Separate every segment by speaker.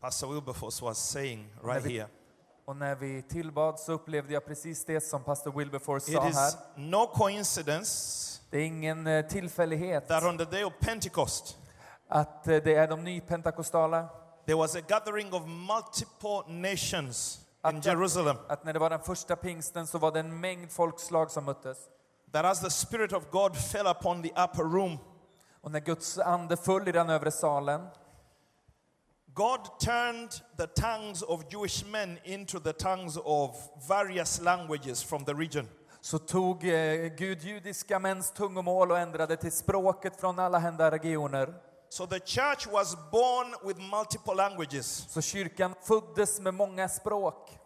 Speaker 1: Pastor Wilberforce was saying right here
Speaker 2: Och när vi tillbad så upplevde jag precis det som pastor Wilberforce
Speaker 1: it
Speaker 2: sa här.
Speaker 1: is no coincidence
Speaker 2: Det är ingen eh, tillfällighet
Speaker 1: that on the day of Pentecost,
Speaker 2: att eh, det är de nypentakostala.
Speaker 1: there was a gathering of multiple nations in
Speaker 2: Att-
Speaker 1: Jerusalem.
Speaker 2: Att när det var den första pingsten så var det en mängd folkslag som möttes.
Speaker 1: That as the Spirit of God fell upon the upper room,
Speaker 2: Och när Guds ande föll i den övre salen
Speaker 1: God turned the tongues of Jewish men into the tongues of various languages from the region.
Speaker 2: så tog eh, Gud judiska mäns tungomål och ändrade till språket från alla hända regioner.
Speaker 1: So the church was born with multiple languages,
Speaker 2: Så kyrkan föddes med många språk.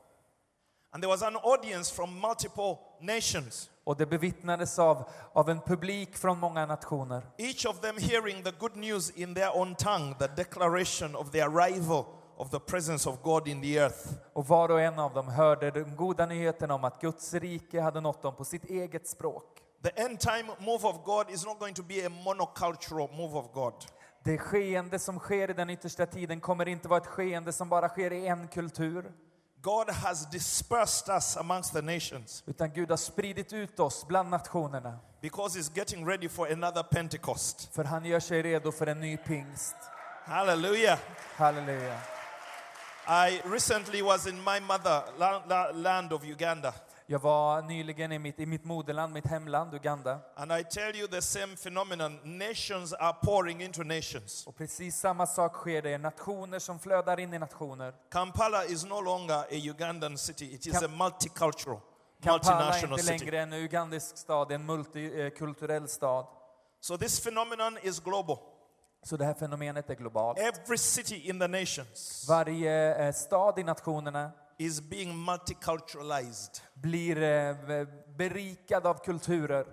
Speaker 1: and there was an audience from multiple nations,
Speaker 2: Och det bevittnades av, av en publik från många nationer.
Speaker 1: each of them hearing the good news in their own tongue, the declaration of the arrival of the presence of God in the earth.
Speaker 2: Och var och en av dem hörde den goda nyheten om att Guds rike hade nått dem på sitt eget språk.
Speaker 1: The end time move of God is not going to be a monocultural move of God.
Speaker 2: Det skeende som sker i den yttersta tiden kommer inte vara ett skeende som bara sker i en kultur,
Speaker 1: God has dispersed us amongst the nations
Speaker 2: utan Gud har spridit ut oss bland nationerna,
Speaker 1: because He's getting ready for another Pentecost.
Speaker 2: för han gör sig redo för en ny pingst.
Speaker 1: Hallelujah.
Speaker 2: Halleluja.
Speaker 1: I recently was in my mother la- la- land of Uganda,
Speaker 2: Jag var nyligen i mitt, i mitt moderland, mitt hemland Uganda,
Speaker 1: and I tell you the same phenomenon. Nations are pouring into nations.
Speaker 2: och precis samma sak sker. Det är nationer som flödar in i nationer.
Speaker 1: Kampala is no longer a Ugandan city, it is
Speaker 2: Kam-
Speaker 1: a multicultural,
Speaker 2: Kampala är
Speaker 1: multinational
Speaker 2: inte
Speaker 1: city.
Speaker 2: längre en ugandisk stad, det är en multikulturell stad.
Speaker 1: So, this phenomenon is global.
Speaker 2: Så det här fenomenet är globalt.
Speaker 1: Every city in the nations
Speaker 2: Varje eh, stad i nationerna
Speaker 1: is being multiculturalized.
Speaker 2: blir eh, v- berikad av kulturer.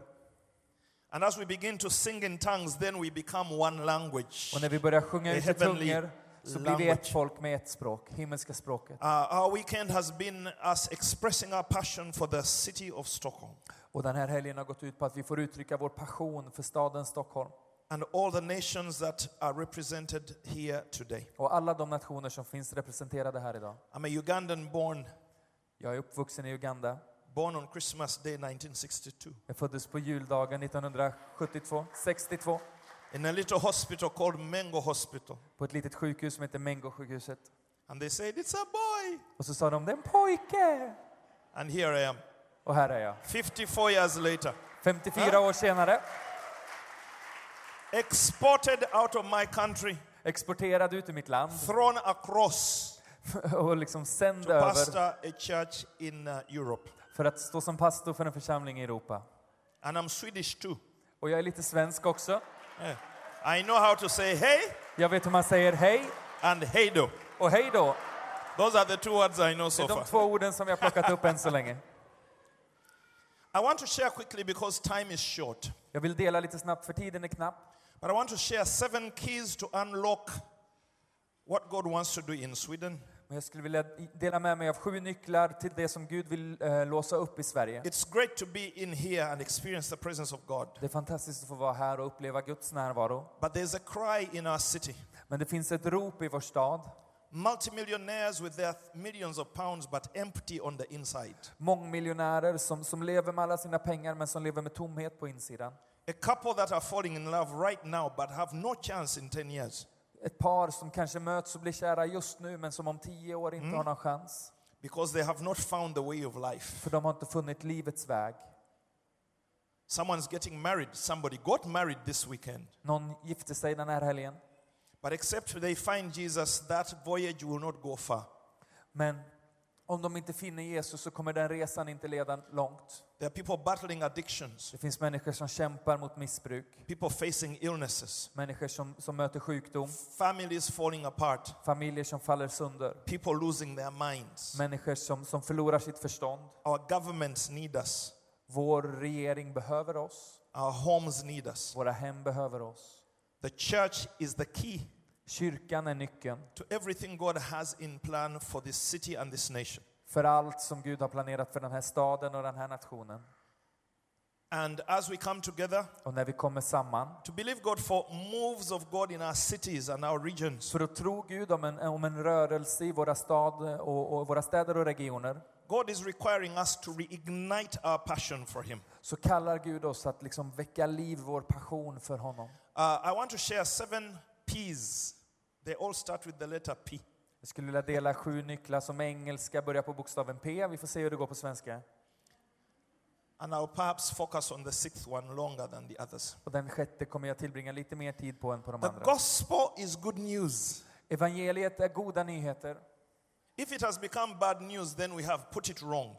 Speaker 1: And as we begin to sing in tongues, then we become one language.
Speaker 2: Och när vi börjar sjunga
Speaker 1: The
Speaker 2: ut i
Speaker 1: heavenly
Speaker 2: tungor så blir vi
Speaker 1: language.
Speaker 2: ett folk med ett språk, himmelska språket.
Speaker 1: Uh, our weekend has been us expressing our passion for the city of Stockholm.
Speaker 2: Och den här helgen har gått ut på att vi får uttrycka vår passion för staden Stockholm
Speaker 1: and all the nations that are represented here today.
Speaker 2: och alla de nationer som finns representerade här idag.
Speaker 1: I'm a Ugandan born,
Speaker 2: Jag är uppvuxen i Uganda.
Speaker 1: born on Christmas Day 1962
Speaker 2: Jag föddes på juldagen 1972, 62,
Speaker 1: in a little hospital called Mengo Hospital.
Speaker 2: på ett litet sjukhus som heter Mengo-sjukhuset.
Speaker 1: And they said, It's a boy.
Speaker 2: Och så sa de, det är en pojke!
Speaker 1: And here I am,
Speaker 2: Och här är jag,
Speaker 1: 54 years later,
Speaker 2: 54 år senare.
Speaker 1: exported out of my country,
Speaker 2: exporterad ut ur mitt land
Speaker 1: thrown across
Speaker 2: och liksom sänd
Speaker 1: to
Speaker 2: över
Speaker 1: pastor a church in uh, Europe.
Speaker 2: för att stå som pastor för en församling i Europa.
Speaker 1: And I'm Swedish too.
Speaker 2: Och jag är lite svensk också.
Speaker 1: Yeah. I know how to say hey
Speaker 2: Jag vet hur man säger hej
Speaker 1: and hey do.
Speaker 2: och hej då.
Speaker 1: Those are the two words I know
Speaker 2: Det
Speaker 1: so
Speaker 2: är de
Speaker 1: far.
Speaker 2: två orden som jag plockat upp än så länge.
Speaker 1: I want to share quickly because time is short.
Speaker 2: Jag vill dela lite snabbt, för tiden är knapp.
Speaker 1: But I want to share seven keys to unlock what God wants to do in Sweden.
Speaker 2: Men jag skulle vilja dela med mig av sju nycklar till det som Gud vill eh, låsa upp i Sverige.
Speaker 1: It's great to be in here and experience the presence of God.
Speaker 2: Det är fantastiskt att få vara här och uppleva Guds närvaro.
Speaker 1: But there's a cry in our city.
Speaker 2: Men det finns ett rop i vår stad.
Speaker 1: Multimillionaires with their millions of pounds but empty on the inside.
Speaker 2: Mångmiljonärer som, som lever med alla sina pengar men som lever med tomhet på insidan.
Speaker 1: A couple that are falling in love right now but have no chance in 10 years
Speaker 2: ett par som kanske möts och blir kära just nu men som om tio år inte har någon chans.
Speaker 1: because they have not found the way of life.
Speaker 2: För de har inte funnit livets väg.
Speaker 1: Someone's getting married. Somebody got married this weekend.
Speaker 2: Någon gifte sig den här helgen.
Speaker 1: But except they find Jesus, that voyage will not go far.
Speaker 2: Men Om de inte finner Jesus så kommer den resan inte leda långt.
Speaker 1: There are people battling addictions,
Speaker 2: Det finns människor som kämpar mot missbruk,
Speaker 1: people facing illnesses,
Speaker 2: människor som, som möter sjukdom,
Speaker 1: families falling apart,
Speaker 2: familjer som faller sönder,
Speaker 1: people losing their minds.
Speaker 2: människor som, som förlorar sitt förstånd.
Speaker 1: Our governments need us,
Speaker 2: Vår regering behöver oss,
Speaker 1: our homes need us.
Speaker 2: våra hem behöver oss.
Speaker 1: The church is the key
Speaker 2: Kyrkan är nyckeln
Speaker 1: to everything God has in plan for this city and this nation.
Speaker 2: för allt som Gud har planerat för den här staden och den här nationen.
Speaker 1: And as we come together
Speaker 2: Och när vi kommer samman,
Speaker 1: to believe God for moves of God in our cities and our regions,
Speaker 2: för att tro Gud om en, om en rörelse i våra, stad och, och våra städer och regioner,
Speaker 1: God is requiring us to reignite our passion for Him.
Speaker 2: så kallar Gud oss att liksom väcka liv vår passion för honom.
Speaker 1: Uh, I want to share seven P's. They all start with the letter P.
Speaker 2: Jag skulle vilja dela sju nycklar som engelska börjar på bokstaven P. Vi får se hur det går på svenska.
Speaker 1: And I'll perhaps focus on the sixth one longer than the others.
Speaker 2: Och den sjätte kommer jag tillbringa lite mer tid på än på de
Speaker 1: The
Speaker 2: andra.
Speaker 1: gospel is good news.
Speaker 2: Evangeliet är goda nyheter.
Speaker 1: If it has become bad news, then we have put it wrong.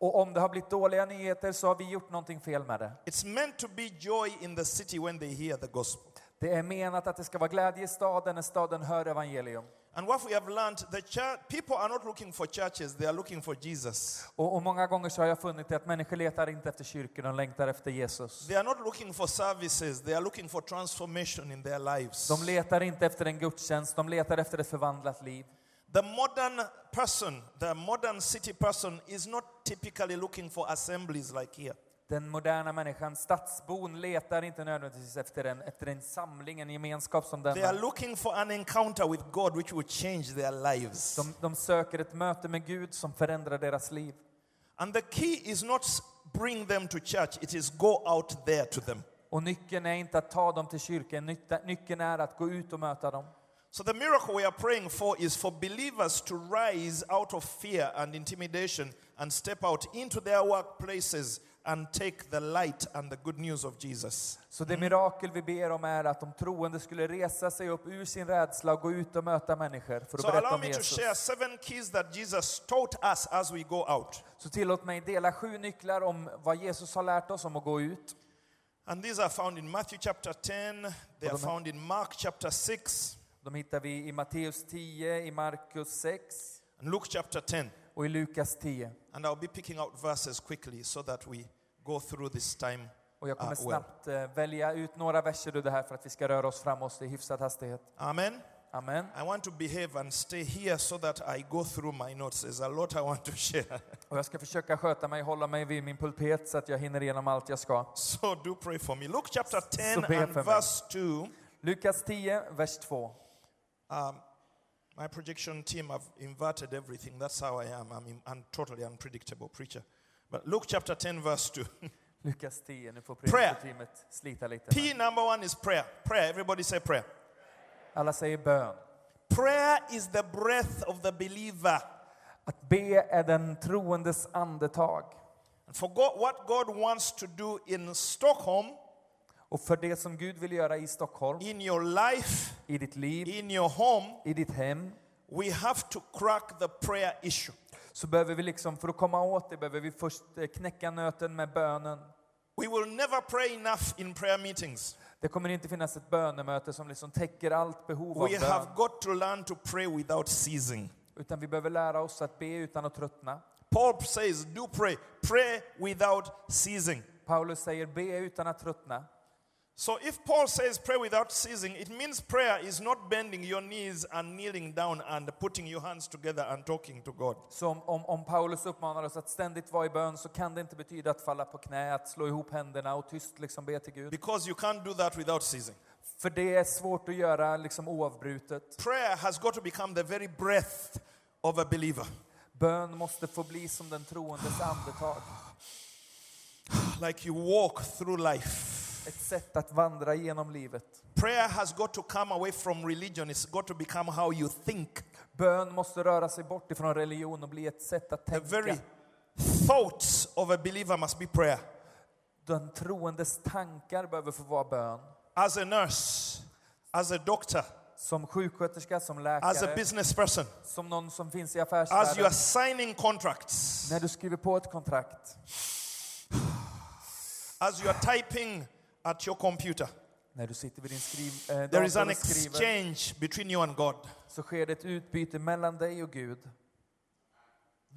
Speaker 2: Och om det har blivit dåliga nyheter så har vi gjort någonting fel med det.
Speaker 1: It's meant to be joy in the city when they hear the gospel.
Speaker 2: Det är menat att det ska vara glädje i staden när staden hör evangelium.
Speaker 1: And what we have learned, the church, people are not looking for churches, they are looking for Jesus.
Speaker 2: Och, och många gånger så har jag funnit att människor letar inte efter kyrkor, de längtar efter Jesus.
Speaker 1: They are not looking for services, they are looking for transformation in their lives.
Speaker 2: De letar inte efter en gudstjänst, de letar efter ett förvandlat liv.
Speaker 1: The modern person, the modern city person, is not typically looking for assemblies like here.
Speaker 2: Den moderna människan, stadsbon, letar inte nödvändigtvis efter en, efter en samling, en gemenskap som
Speaker 1: They are
Speaker 2: denna.
Speaker 1: looking for an encounter with God which will change their lives.
Speaker 2: De, de söker ett möte med Gud som förändrar deras liv.
Speaker 1: And the key is not s- bring them to church, it is go out there to them.
Speaker 2: Och nyckeln är inte att ta dem till kyrkan, nytta- nyckeln är att gå ut och möta dem.
Speaker 1: So the miracle we are praying for is for believers to rise out of fear and intimidation and step out into their workplaces and take the light and the good news of Jesus.
Speaker 2: Så det mirakel vi ber om är att de troende skulle resa sig upp ur sin rädsla och gå ut och möta människor för att
Speaker 1: So
Speaker 2: berätta
Speaker 1: allow
Speaker 2: om
Speaker 1: me to
Speaker 2: Jesus.
Speaker 1: share seven keys that Jesus taught us as we go out.
Speaker 2: Så tillåt mig dela sju nycklar om vad Jesus har lärt oss om att gå ut.
Speaker 1: And these are found in Matthew chapter 10, they are found in Mark chapter 6
Speaker 2: De hittar vi i Matteus 10, i Markus 6
Speaker 1: and Luke chapter 10.
Speaker 2: och i Lukas 10.
Speaker 1: And I'll be picking out verses quickly so that we go through this time.
Speaker 2: Och jag kommer
Speaker 1: Ah, well.
Speaker 2: snabbt eh, välja ut några verser ur det här för att vi ska röra oss framåt i hyfsad hastighet.
Speaker 1: Amen.
Speaker 2: Amen.
Speaker 1: I want to behave and stay here so that I go through my notes. There's a lot I want to share.
Speaker 2: Och jag ska försöka sköta mig, hålla mig vid min pulpet så att jag hinner igenom allt jag ska.
Speaker 1: So do pray for me. Luke chapter 10
Speaker 2: be
Speaker 1: and
Speaker 2: for me.
Speaker 1: verse 2.
Speaker 2: Lukas 10, vers 2.
Speaker 1: My projection team have inverted everything. That's how I am. I'm, in- I'm totally unpredictable preacher. But Luke chapter 10, verse 2.
Speaker 2: Lukas 10, nu får
Speaker 1: Prayer.
Speaker 2: predikoteamet slita lite.
Speaker 1: P number one is prayer. Prayer. Everybody say prayer.
Speaker 2: Alla säger bön.
Speaker 1: Prayer is the breath of the believer.
Speaker 2: Att be är den troendes andetag.
Speaker 1: And for God, what God wants to do in Stockholm,
Speaker 2: Och för det som Gud vill göra i Stockholm,
Speaker 1: in your life,
Speaker 2: i ditt liv,
Speaker 1: in your home,
Speaker 2: i ditt hem,
Speaker 1: we have to crack the prayer issue.
Speaker 2: så behöver vi liksom, för att komma åt det, behöver vi först eh, knäcka nöten med bönen.
Speaker 1: We will never pray enough in prayer meetings.
Speaker 2: Det kommer inte finnas ett bönemöte som liksom täcker allt behov av
Speaker 1: We have
Speaker 2: bön,
Speaker 1: got to learn to pray without ceasing.
Speaker 2: utan vi behöver lära oss att be utan att tröttna.
Speaker 1: Paul says, Do pray, pray without ceasing.
Speaker 2: Paulus säger be utan att tröttna.
Speaker 1: So if Paul says pray without ceasing, it means prayer is not bending your knees and kneeling down and putting your hands together and talking to God.
Speaker 2: Så om, om, om Paulus uppmanar oss att ständigt vara i bön så kan det inte betyda att falla på knä, att slå ihop händerna och tyst liksom be till Gud.
Speaker 1: Because you can't do that without ceasing.
Speaker 2: För det är svårt att göra liksom oavbrutet.
Speaker 1: Prayer has got to become the very breath of a believer.
Speaker 2: Bön måste få bli som den troendes andetag.
Speaker 1: Like you walk through life.
Speaker 2: Ett sätt att vandra genom livet.
Speaker 1: Prayer has got to come away from religion. It's got to become how you think.
Speaker 2: Bön måste röra sig bort ifrån religion och bli ett sätt att
Speaker 1: The
Speaker 2: tänka.
Speaker 1: very thoughts of a believer must be prayer.
Speaker 2: Den troendes tankar behöver få vara bön.
Speaker 1: As a nurse, as a doctor,
Speaker 2: Som sjuksköterska, som
Speaker 1: as a
Speaker 2: läkare,
Speaker 1: business person,
Speaker 2: som någon som finns i
Speaker 1: as you
Speaker 2: affärsvärlden.
Speaker 1: are signing contracts,
Speaker 2: När du skriver på ett kontrakt,
Speaker 1: as you are typing at your computer.
Speaker 2: när du sitter vid din skriv, eh,
Speaker 1: There is
Speaker 2: dator
Speaker 1: an
Speaker 2: och skriver,
Speaker 1: exchange between you and God.
Speaker 2: så sker det ett utbyte mellan dig och Gud.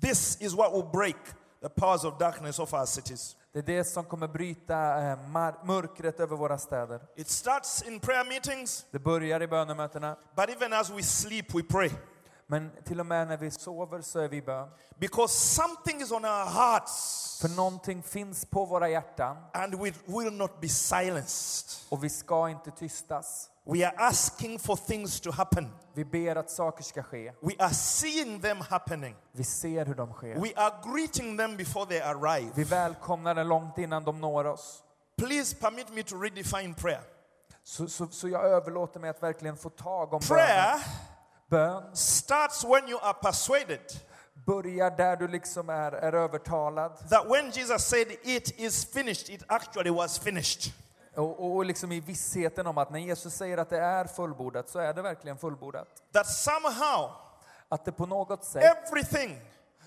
Speaker 1: This is what will break the powers of darkness of our cities.
Speaker 2: Det är det som kommer bryta eh, mar- mörkret över våra städer.
Speaker 1: It starts in prayer meetings,
Speaker 2: Det börjar i bönemötena,
Speaker 1: but even as we sleep, we pray.
Speaker 2: men till och med när vi sover så är vi i bön.
Speaker 1: Because something is on our hearts,
Speaker 2: För någonting finns på våra hjärtan
Speaker 1: and we will not be silenced.
Speaker 2: och vi ska inte tystas.
Speaker 1: We are asking for things to happen.
Speaker 2: Vi ber att saker ska ske.
Speaker 1: We are seeing them happening.
Speaker 2: Vi ser hur de sker.
Speaker 1: We are greeting them before they arrive.
Speaker 2: Vi välkomnar den långt innan de når oss.
Speaker 1: Please permit me to redefine prayer.
Speaker 2: Så, så, så jag överlåter mig att verkligen få tag om
Speaker 1: Prayer
Speaker 2: bönen. Bön
Speaker 1: starts when you are persuaded
Speaker 2: börjar där du liksom är, är övertalad.
Speaker 1: that when Jesus said, It is finished, it actually was finished.
Speaker 2: Och, och, och liksom i vissheten om att när Jesus säger att det är fullbordat så är det verkligen fullbordat.
Speaker 1: That somehow
Speaker 2: Att det på något sätt
Speaker 1: everything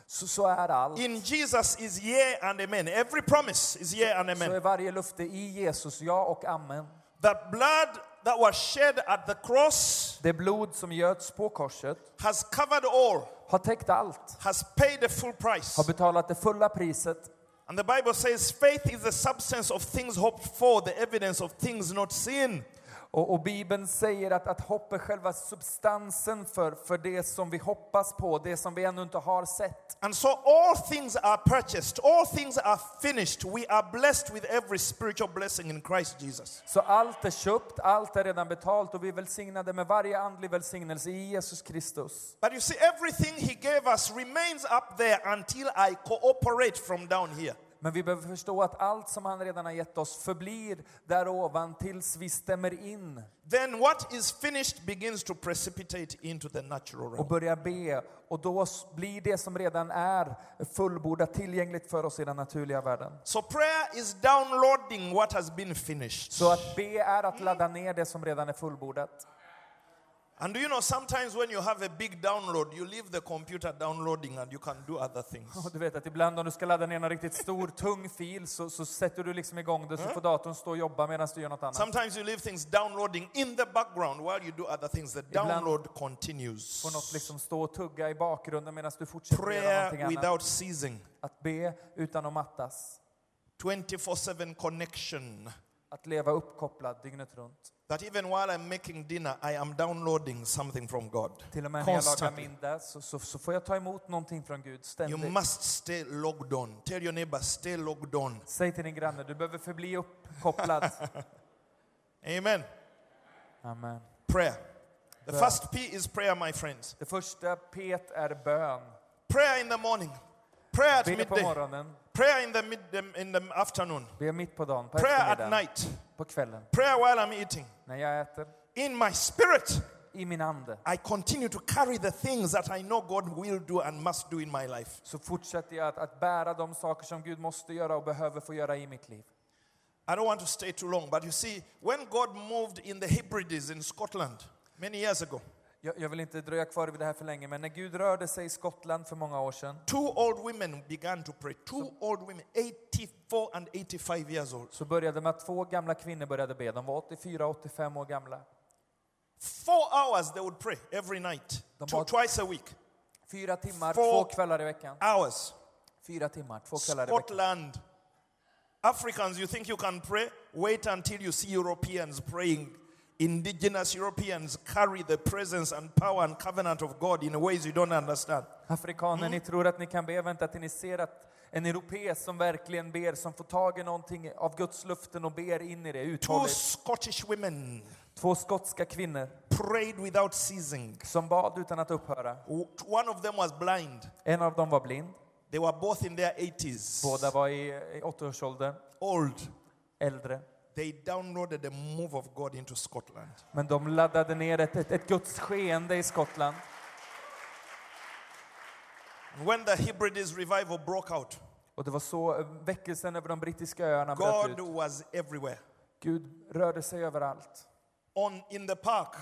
Speaker 2: så, så är allt.
Speaker 1: in Jesus is yea and amen. Every promise is yea and
Speaker 2: Så är
Speaker 1: amen.
Speaker 2: varje löfte i Jesus ja och amen.
Speaker 1: That blood that was shed at the cross
Speaker 2: Det blod som göts på korset
Speaker 1: has covered all,
Speaker 2: har täckt allt.
Speaker 1: has paid the full price.
Speaker 2: Har betalat det fulla priset.
Speaker 1: And the Bible says, faith is the substance of things hoped for, the evidence of things not seen.
Speaker 2: Och, och Bibeln säger att, att hopp är själva substansen för, för det som vi hoppas på, det som vi ännu inte har sett.
Speaker 1: And so all things are purchased, all things are finished. We are blessed with every spiritual blessing in Christ Jesus.
Speaker 2: Så allt är köpt, allt är redan betalt och vi är välsignade med varje andlig välsignelse i Jesus Kristus.
Speaker 1: But you see, everything He gave us remains up there until I cooperate from down here.
Speaker 2: Men vi behöver förstå att allt som han redan har gett oss förblir där ovan tills vi stämmer in
Speaker 1: Then what is finished begins to precipitate into the natural
Speaker 2: och
Speaker 1: realm.
Speaker 2: börjar be. Och då s- blir det som redan är fullbordat tillgängligt för oss i den naturliga världen.
Speaker 1: So prayer is downloading what has been finished.
Speaker 2: Så att be är att ladda ner det som redan är fullbordat.
Speaker 1: And do you know sometimes when you have a big download, you leave the computer downloading and you can do other things.
Speaker 2: Och du vet att ibland om du ska ladda ner någon riktigt stor, tung fil så, så sätter du liksom igång det så
Speaker 1: Mm.
Speaker 2: får datorn stå och jobba medan du gör något annat.
Speaker 1: Sometimes you leave things downloading in the background while you do other things. The
Speaker 2: Ibland-
Speaker 1: download continues.
Speaker 2: Får något liksom stå och tugga i bakgrunden medan du fortsätter göra någonting
Speaker 1: Prayer
Speaker 2: annat.
Speaker 1: without ceasing,
Speaker 2: Att be utan att mattas.
Speaker 1: 24 7 connection.
Speaker 2: Att leva uppkopplad dygnet runt.
Speaker 1: That even while I'm making dinner, I am downloading something from God.
Speaker 2: Till och med när jag lagar
Speaker 1: Constantly.
Speaker 2: middag så, så, så får jag ta emot någonting från Gud
Speaker 1: You
Speaker 2: ständigt.
Speaker 1: must stay logged on. Tell your neighbor, stay logged on.
Speaker 2: Säg till din granne, du behöver förbli uppkopplad.
Speaker 1: Amen.
Speaker 2: Amen.
Speaker 1: Prayer. The
Speaker 2: Prayer.
Speaker 1: first P is prayer, my friends.
Speaker 2: Det första P är bön.
Speaker 1: Prayer in the morning. Prayer at
Speaker 2: Be på
Speaker 1: midday.
Speaker 2: morgonen,
Speaker 1: Prayer in the mid um, in the afternoon.
Speaker 2: be mitt på dagen, på
Speaker 1: Prayer at
Speaker 2: eftermiddagen,
Speaker 1: night.
Speaker 2: på kvällen,
Speaker 1: Prayer while I'm eating.
Speaker 2: när jag äter.
Speaker 1: In my spirit,
Speaker 2: I min ande.
Speaker 1: I continue to carry the things that I know God will do and must do in my life.
Speaker 2: så fortsätter jag att, att bära de saker som Gud måste göra och behöver få göra i mitt liv.
Speaker 1: I don't want to stay too long, but you see, when God moved in the Hebrides in Scotland many years ago,
Speaker 2: Jag, jag vill inte dröja kvar vid det här för länge, men när Gud rörde sig i Skottland för många år sedan
Speaker 1: two old women began to pray. Two old women, 84 and 85 years old.
Speaker 2: så började det med att två gamla kvinnor började be. De var 84 85 år gamla.
Speaker 1: Four hours they would pray every night,
Speaker 2: The
Speaker 1: two,
Speaker 2: mod-
Speaker 1: twice a week.
Speaker 2: Fyra timmar,
Speaker 1: Four-
Speaker 2: två kvällar i veckan.
Speaker 1: Hours.
Speaker 2: Fyra timmar, två kvällar i veckan.
Speaker 1: Scotland. Africans, you think you can pray? Wait until you see Europeans praying. Indigenous Europeans carry the presence and power and covenant of God in ways you don't understand.
Speaker 2: Afrikaner, ni tror att ni kan be, vänta till ni ser att en europé som verkligen ber, som får tag i någonting av Guds luften och ber in i det
Speaker 1: Two
Speaker 2: uthålligt.
Speaker 1: Scottish women
Speaker 2: Två skotska kvinnor
Speaker 1: prayed without ceasing.
Speaker 2: som bad utan att upphöra.
Speaker 1: W- One of them was blind.
Speaker 2: En av dem var blind.
Speaker 1: They were both in their 80s,
Speaker 2: Båda var i, i åttaårsåldern,
Speaker 1: old.
Speaker 2: äldre.
Speaker 1: They downloaded the move of God into Scotland.
Speaker 2: Men de laddade ner ett, ett, ett Guds skeende i Skottland.
Speaker 1: When the Hebrides revival broke out,
Speaker 2: Och det var så eh, väckelsen över de brittiska öarna bröt
Speaker 1: God
Speaker 2: ut.
Speaker 1: was everywhere.
Speaker 2: Gud rörde sig överallt.
Speaker 1: On in the park,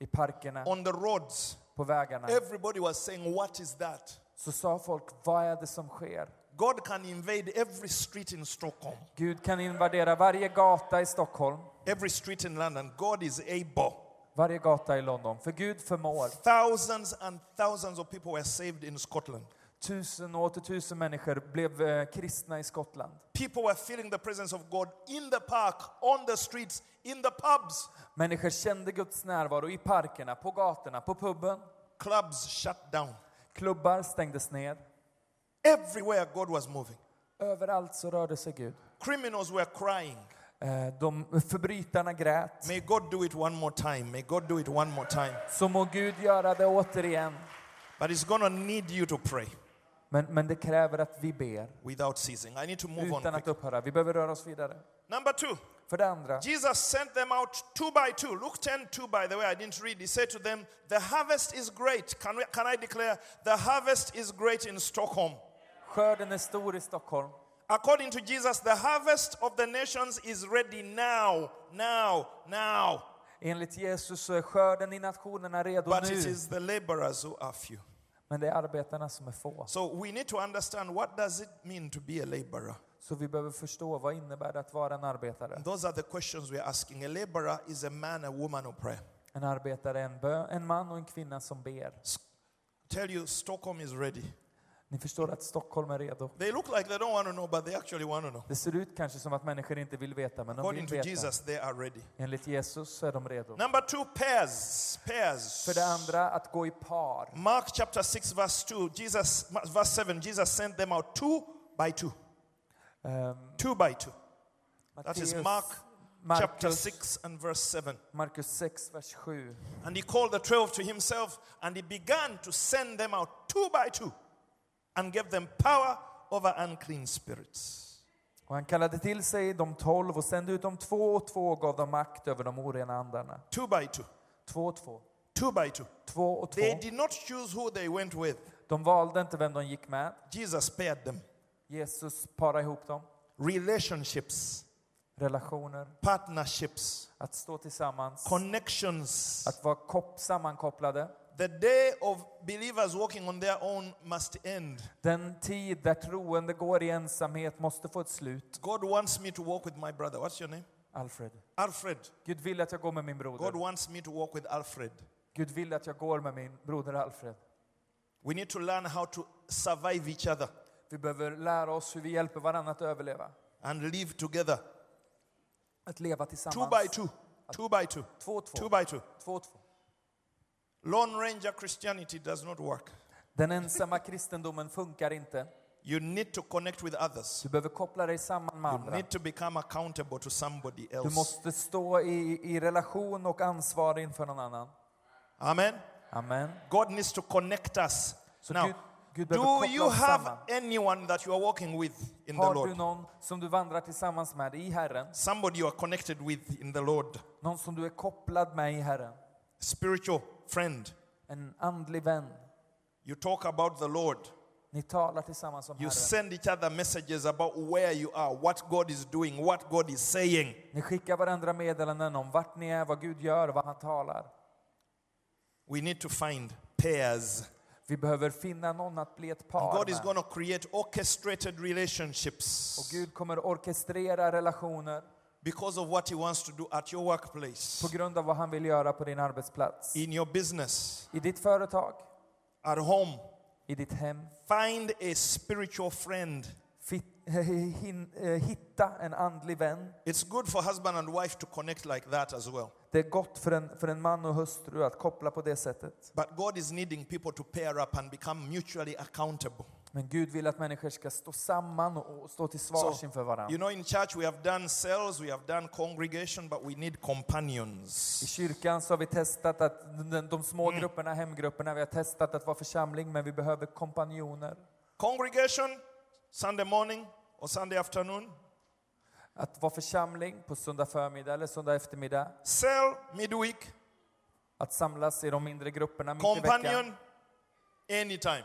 Speaker 2: i parkerna,
Speaker 1: on the roads.
Speaker 2: på vägarna,
Speaker 1: Everybody was saying, What is that?
Speaker 2: så sa folk, vad är det som sker?
Speaker 1: God can invade every street in Stockholm,
Speaker 2: Gud kan invadera varje gata i Stockholm,
Speaker 1: every street in London. God is able.
Speaker 2: varje gata i London, för Gud förmår.
Speaker 1: Thousands and thousands of people were saved in Scotland.
Speaker 2: Tusen och åter tusen människor blev eh, kristna i Skottland.
Speaker 1: People were feeling the presence of God in the park, on the streets, in the pubs.
Speaker 2: Människor kände Guds närvaro i parkerna, på gatorna, på puben.
Speaker 1: Clubs shut down.
Speaker 2: Klubbar stängdes ner.
Speaker 1: Everywhere God was moving.
Speaker 2: Överallt så rörde sig Gud.
Speaker 1: Criminals were crying.
Speaker 2: Eh, De förbrytarna grät.
Speaker 1: May God do it one more time. May God do it one more time.
Speaker 2: Så må Gud göra det återigen.
Speaker 1: But it's going to need you to pray
Speaker 2: Men, men det kräver att vi ber
Speaker 1: without ceasing. I need to move on.
Speaker 2: utan att
Speaker 1: quick.
Speaker 2: upphöra. Vi behöver röra oss vidare.
Speaker 1: Number two,
Speaker 2: För det andra,
Speaker 1: Jesus sent them out two by two. Luke 10 2, by the way, I didn't read. He said to them, The harvest is great. Can, we, can I declare, The harvest is great in Stockholm?
Speaker 2: skörden är stor i Stockholm.
Speaker 1: According to Jesus, the harvest of the nations is ready now, now, now.
Speaker 2: Enligt Jesus så är skörden i nationerna redo
Speaker 1: But it
Speaker 2: nu.
Speaker 1: is the laborers who are few.
Speaker 2: Men det är arbetarna som är få.
Speaker 1: So we need to understand what does it mean to be a laborer?
Speaker 2: Så vi behöver förstå vad innebär det att vara en arbetare.
Speaker 1: And those are the questions we are asking. A laborer is a man, a woman who pray.
Speaker 2: En arbetare är en, bö- en man och en kvinna som ber.
Speaker 1: Tell you, Stockholm is ready.
Speaker 2: Ni förstår att Stockholm är redo.
Speaker 1: They look like they don't want to know, but they actually want to know.
Speaker 2: Det ser ut kanske som att människor inte vill veta, men de
Speaker 1: According
Speaker 2: vill
Speaker 1: to
Speaker 2: veta.
Speaker 1: Jesus, they are ready.
Speaker 2: Enligt Jesus så är de redo.
Speaker 1: Number two, pairs. Pairs.
Speaker 2: För det andra, att gå i par.
Speaker 1: Mark chapter 6, verse 2, Jesus, verse 7, Jesus sent them out two by two.
Speaker 2: Ehm,
Speaker 1: Two by two. That
Speaker 2: Matteus,
Speaker 1: is Mark chapter
Speaker 2: Markus,
Speaker 1: 6 and verse 7.
Speaker 2: Markus 6, vers 7.
Speaker 1: And he called the twelve to himself, and he began to send them out two by two, and gave them power over unclean spirits.
Speaker 2: Och han kallade till sig de tolv och sände ut dem två och två och gav dem makt över de orena andarna.
Speaker 1: Two by two.
Speaker 2: Två och två.
Speaker 1: Two by two.
Speaker 2: Två och två.
Speaker 1: They did not choose who they went with.
Speaker 2: De valde inte vem de gick med.
Speaker 1: Jesus paired them.
Speaker 2: Jesus parade ihop dem.
Speaker 1: Relationships,
Speaker 2: Relationer,
Speaker 1: partnerships,
Speaker 2: att stå tillsammans,
Speaker 1: connections.
Speaker 2: att vara kop- sammankopplade.
Speaker 1: The day of believers walking on their own must end.
Speaker 2: Den tid där troende går i ensamhet måste få ett slut.
Speaker 1: God wants me to walk with my brother. What's your name?
Speaker 2: Alfred.
Speaker 1: Alfred.
Speaker 2: Gud vill att jag går med min
Speaker 1: God
Speaker 2: broder.
Speaker 1: wants me to walk with Alfred.
Speaker 2: Gud vill att jag går med min broder Alfred.
Speaker 1: We need to learn how to survive each other
Speaker 2: Vi behöver lära oss hur vi hjälper varandra att överleva.
Speaker 1: and live together.
Speaker 2: Att leva
Speaker 1: Two
Speaker 2: tillsammans.
Speaker 1: by two. Two by two.
Speaker 2: Två, två.
Speaker 1: Two by two.
Speaker 2: Två och två.
Speaker 1: Lone Ranger Christianity does not work.
Speaker 2: Den ensamma kristendomen funkar inte.
Speaker 1: You need to connect with others.
Speaker 2: Du behöver koppla dig samman med
Speaker 1: You
Speaker 2: andra.
Speaker 1: need to become accountable to somebody
Speaker 2: Du
Speaker 1: else.
Speaker 2: måste stå i, i relation och ansvar inför någon annan.
Speaker 1: Amen.
Speaker 2: Amen.
Speaker 1: God needs to connect us.
Speaker 2: Så
Speaker 1: now,
Speaker 2: Gud, Gud behöver
Speaker 1: do
Speaker 2: koppla
Speaker 1: you
Speaker 2: oss
Speaker 1: have
Speaker 2: samman.
Speaker 1: anyone that you are walking with in the
Speaker 2: Har du
Speaker 1: Lord?
Speaker 2: någon som du vandrar tillsammans med i Herren?
Speaker 1: Somebody you are connected with in the Lord.
Speaker 2: Någon som du är kopplad med i Herren?
Speaker 1: Spiritual friend.
Speaker 2: En andlig vän?
Speaker 1: You talk about the Lord.
Speaker 2: Ni talar tillsammans om
Speaker 1: You
Speaker 2: Herren.
Speaker 1: send each other messages about where you are, what God is doing, what God is saying.
Speaker 2: Ni skickar varandra meddelanden om vart ni är, vad Gud gör, vad han talar.
Speaker 1: We need to find pairs.
Speaker 2: Vi behöver finna någon att bli ett par
Speaker 1: God is
Speaker 2: med.
Speaker 1: going to create orchestrated relationships
Speaker 2: Och Gud kommer orkestrera relationer
Speaker 1: because of what He wants to do at your workplace,
Speaker 2: på grund av vad han vill göra på din arbetsplats.
Speaker 1: in your business,
Speaker 2: I ditt företag,
Speaker 1: at home.
Speaker 2: i ditt hem.
Speaker 1: Find a spiritual friend.
Speaker 2: Fit- hin- eh, Hitta en andlig vän.
Speaker 1: It's good for husband and wife to connect like that as well.
Speaker 2: Det är gott för en, för en man och hustru att koppla på det sättet.
Speaker 1: But God is needing people to pair up and become mutually accountable.
Speaker 2: Men Gud vill att människor ska stå samman och och stå till svars inför
Speaker 1: So, you
Speaker 2: varandra.
Speaker 1: know, in church we have done cells, we have done congregation, but we need
Speaker 2: I
Speaker 1: companions.
Speaker 2: kyrkan så har vi testat att de, de små grupperna, hemgrupperna, vi har testat att vara församling, men vi behöver kompanjoner.
Speaker 1: Congregation, Sunday morning or Sunday afternoon.
Speaker 2: Att vara församling på söndag förmiddag eller söndag eftermiddag.
Speaker 1: Cell, midweek.
Speaker 2: Att samlas i de mindre grupperna mitt i veckan.
Speaker 1: Companion, anytime.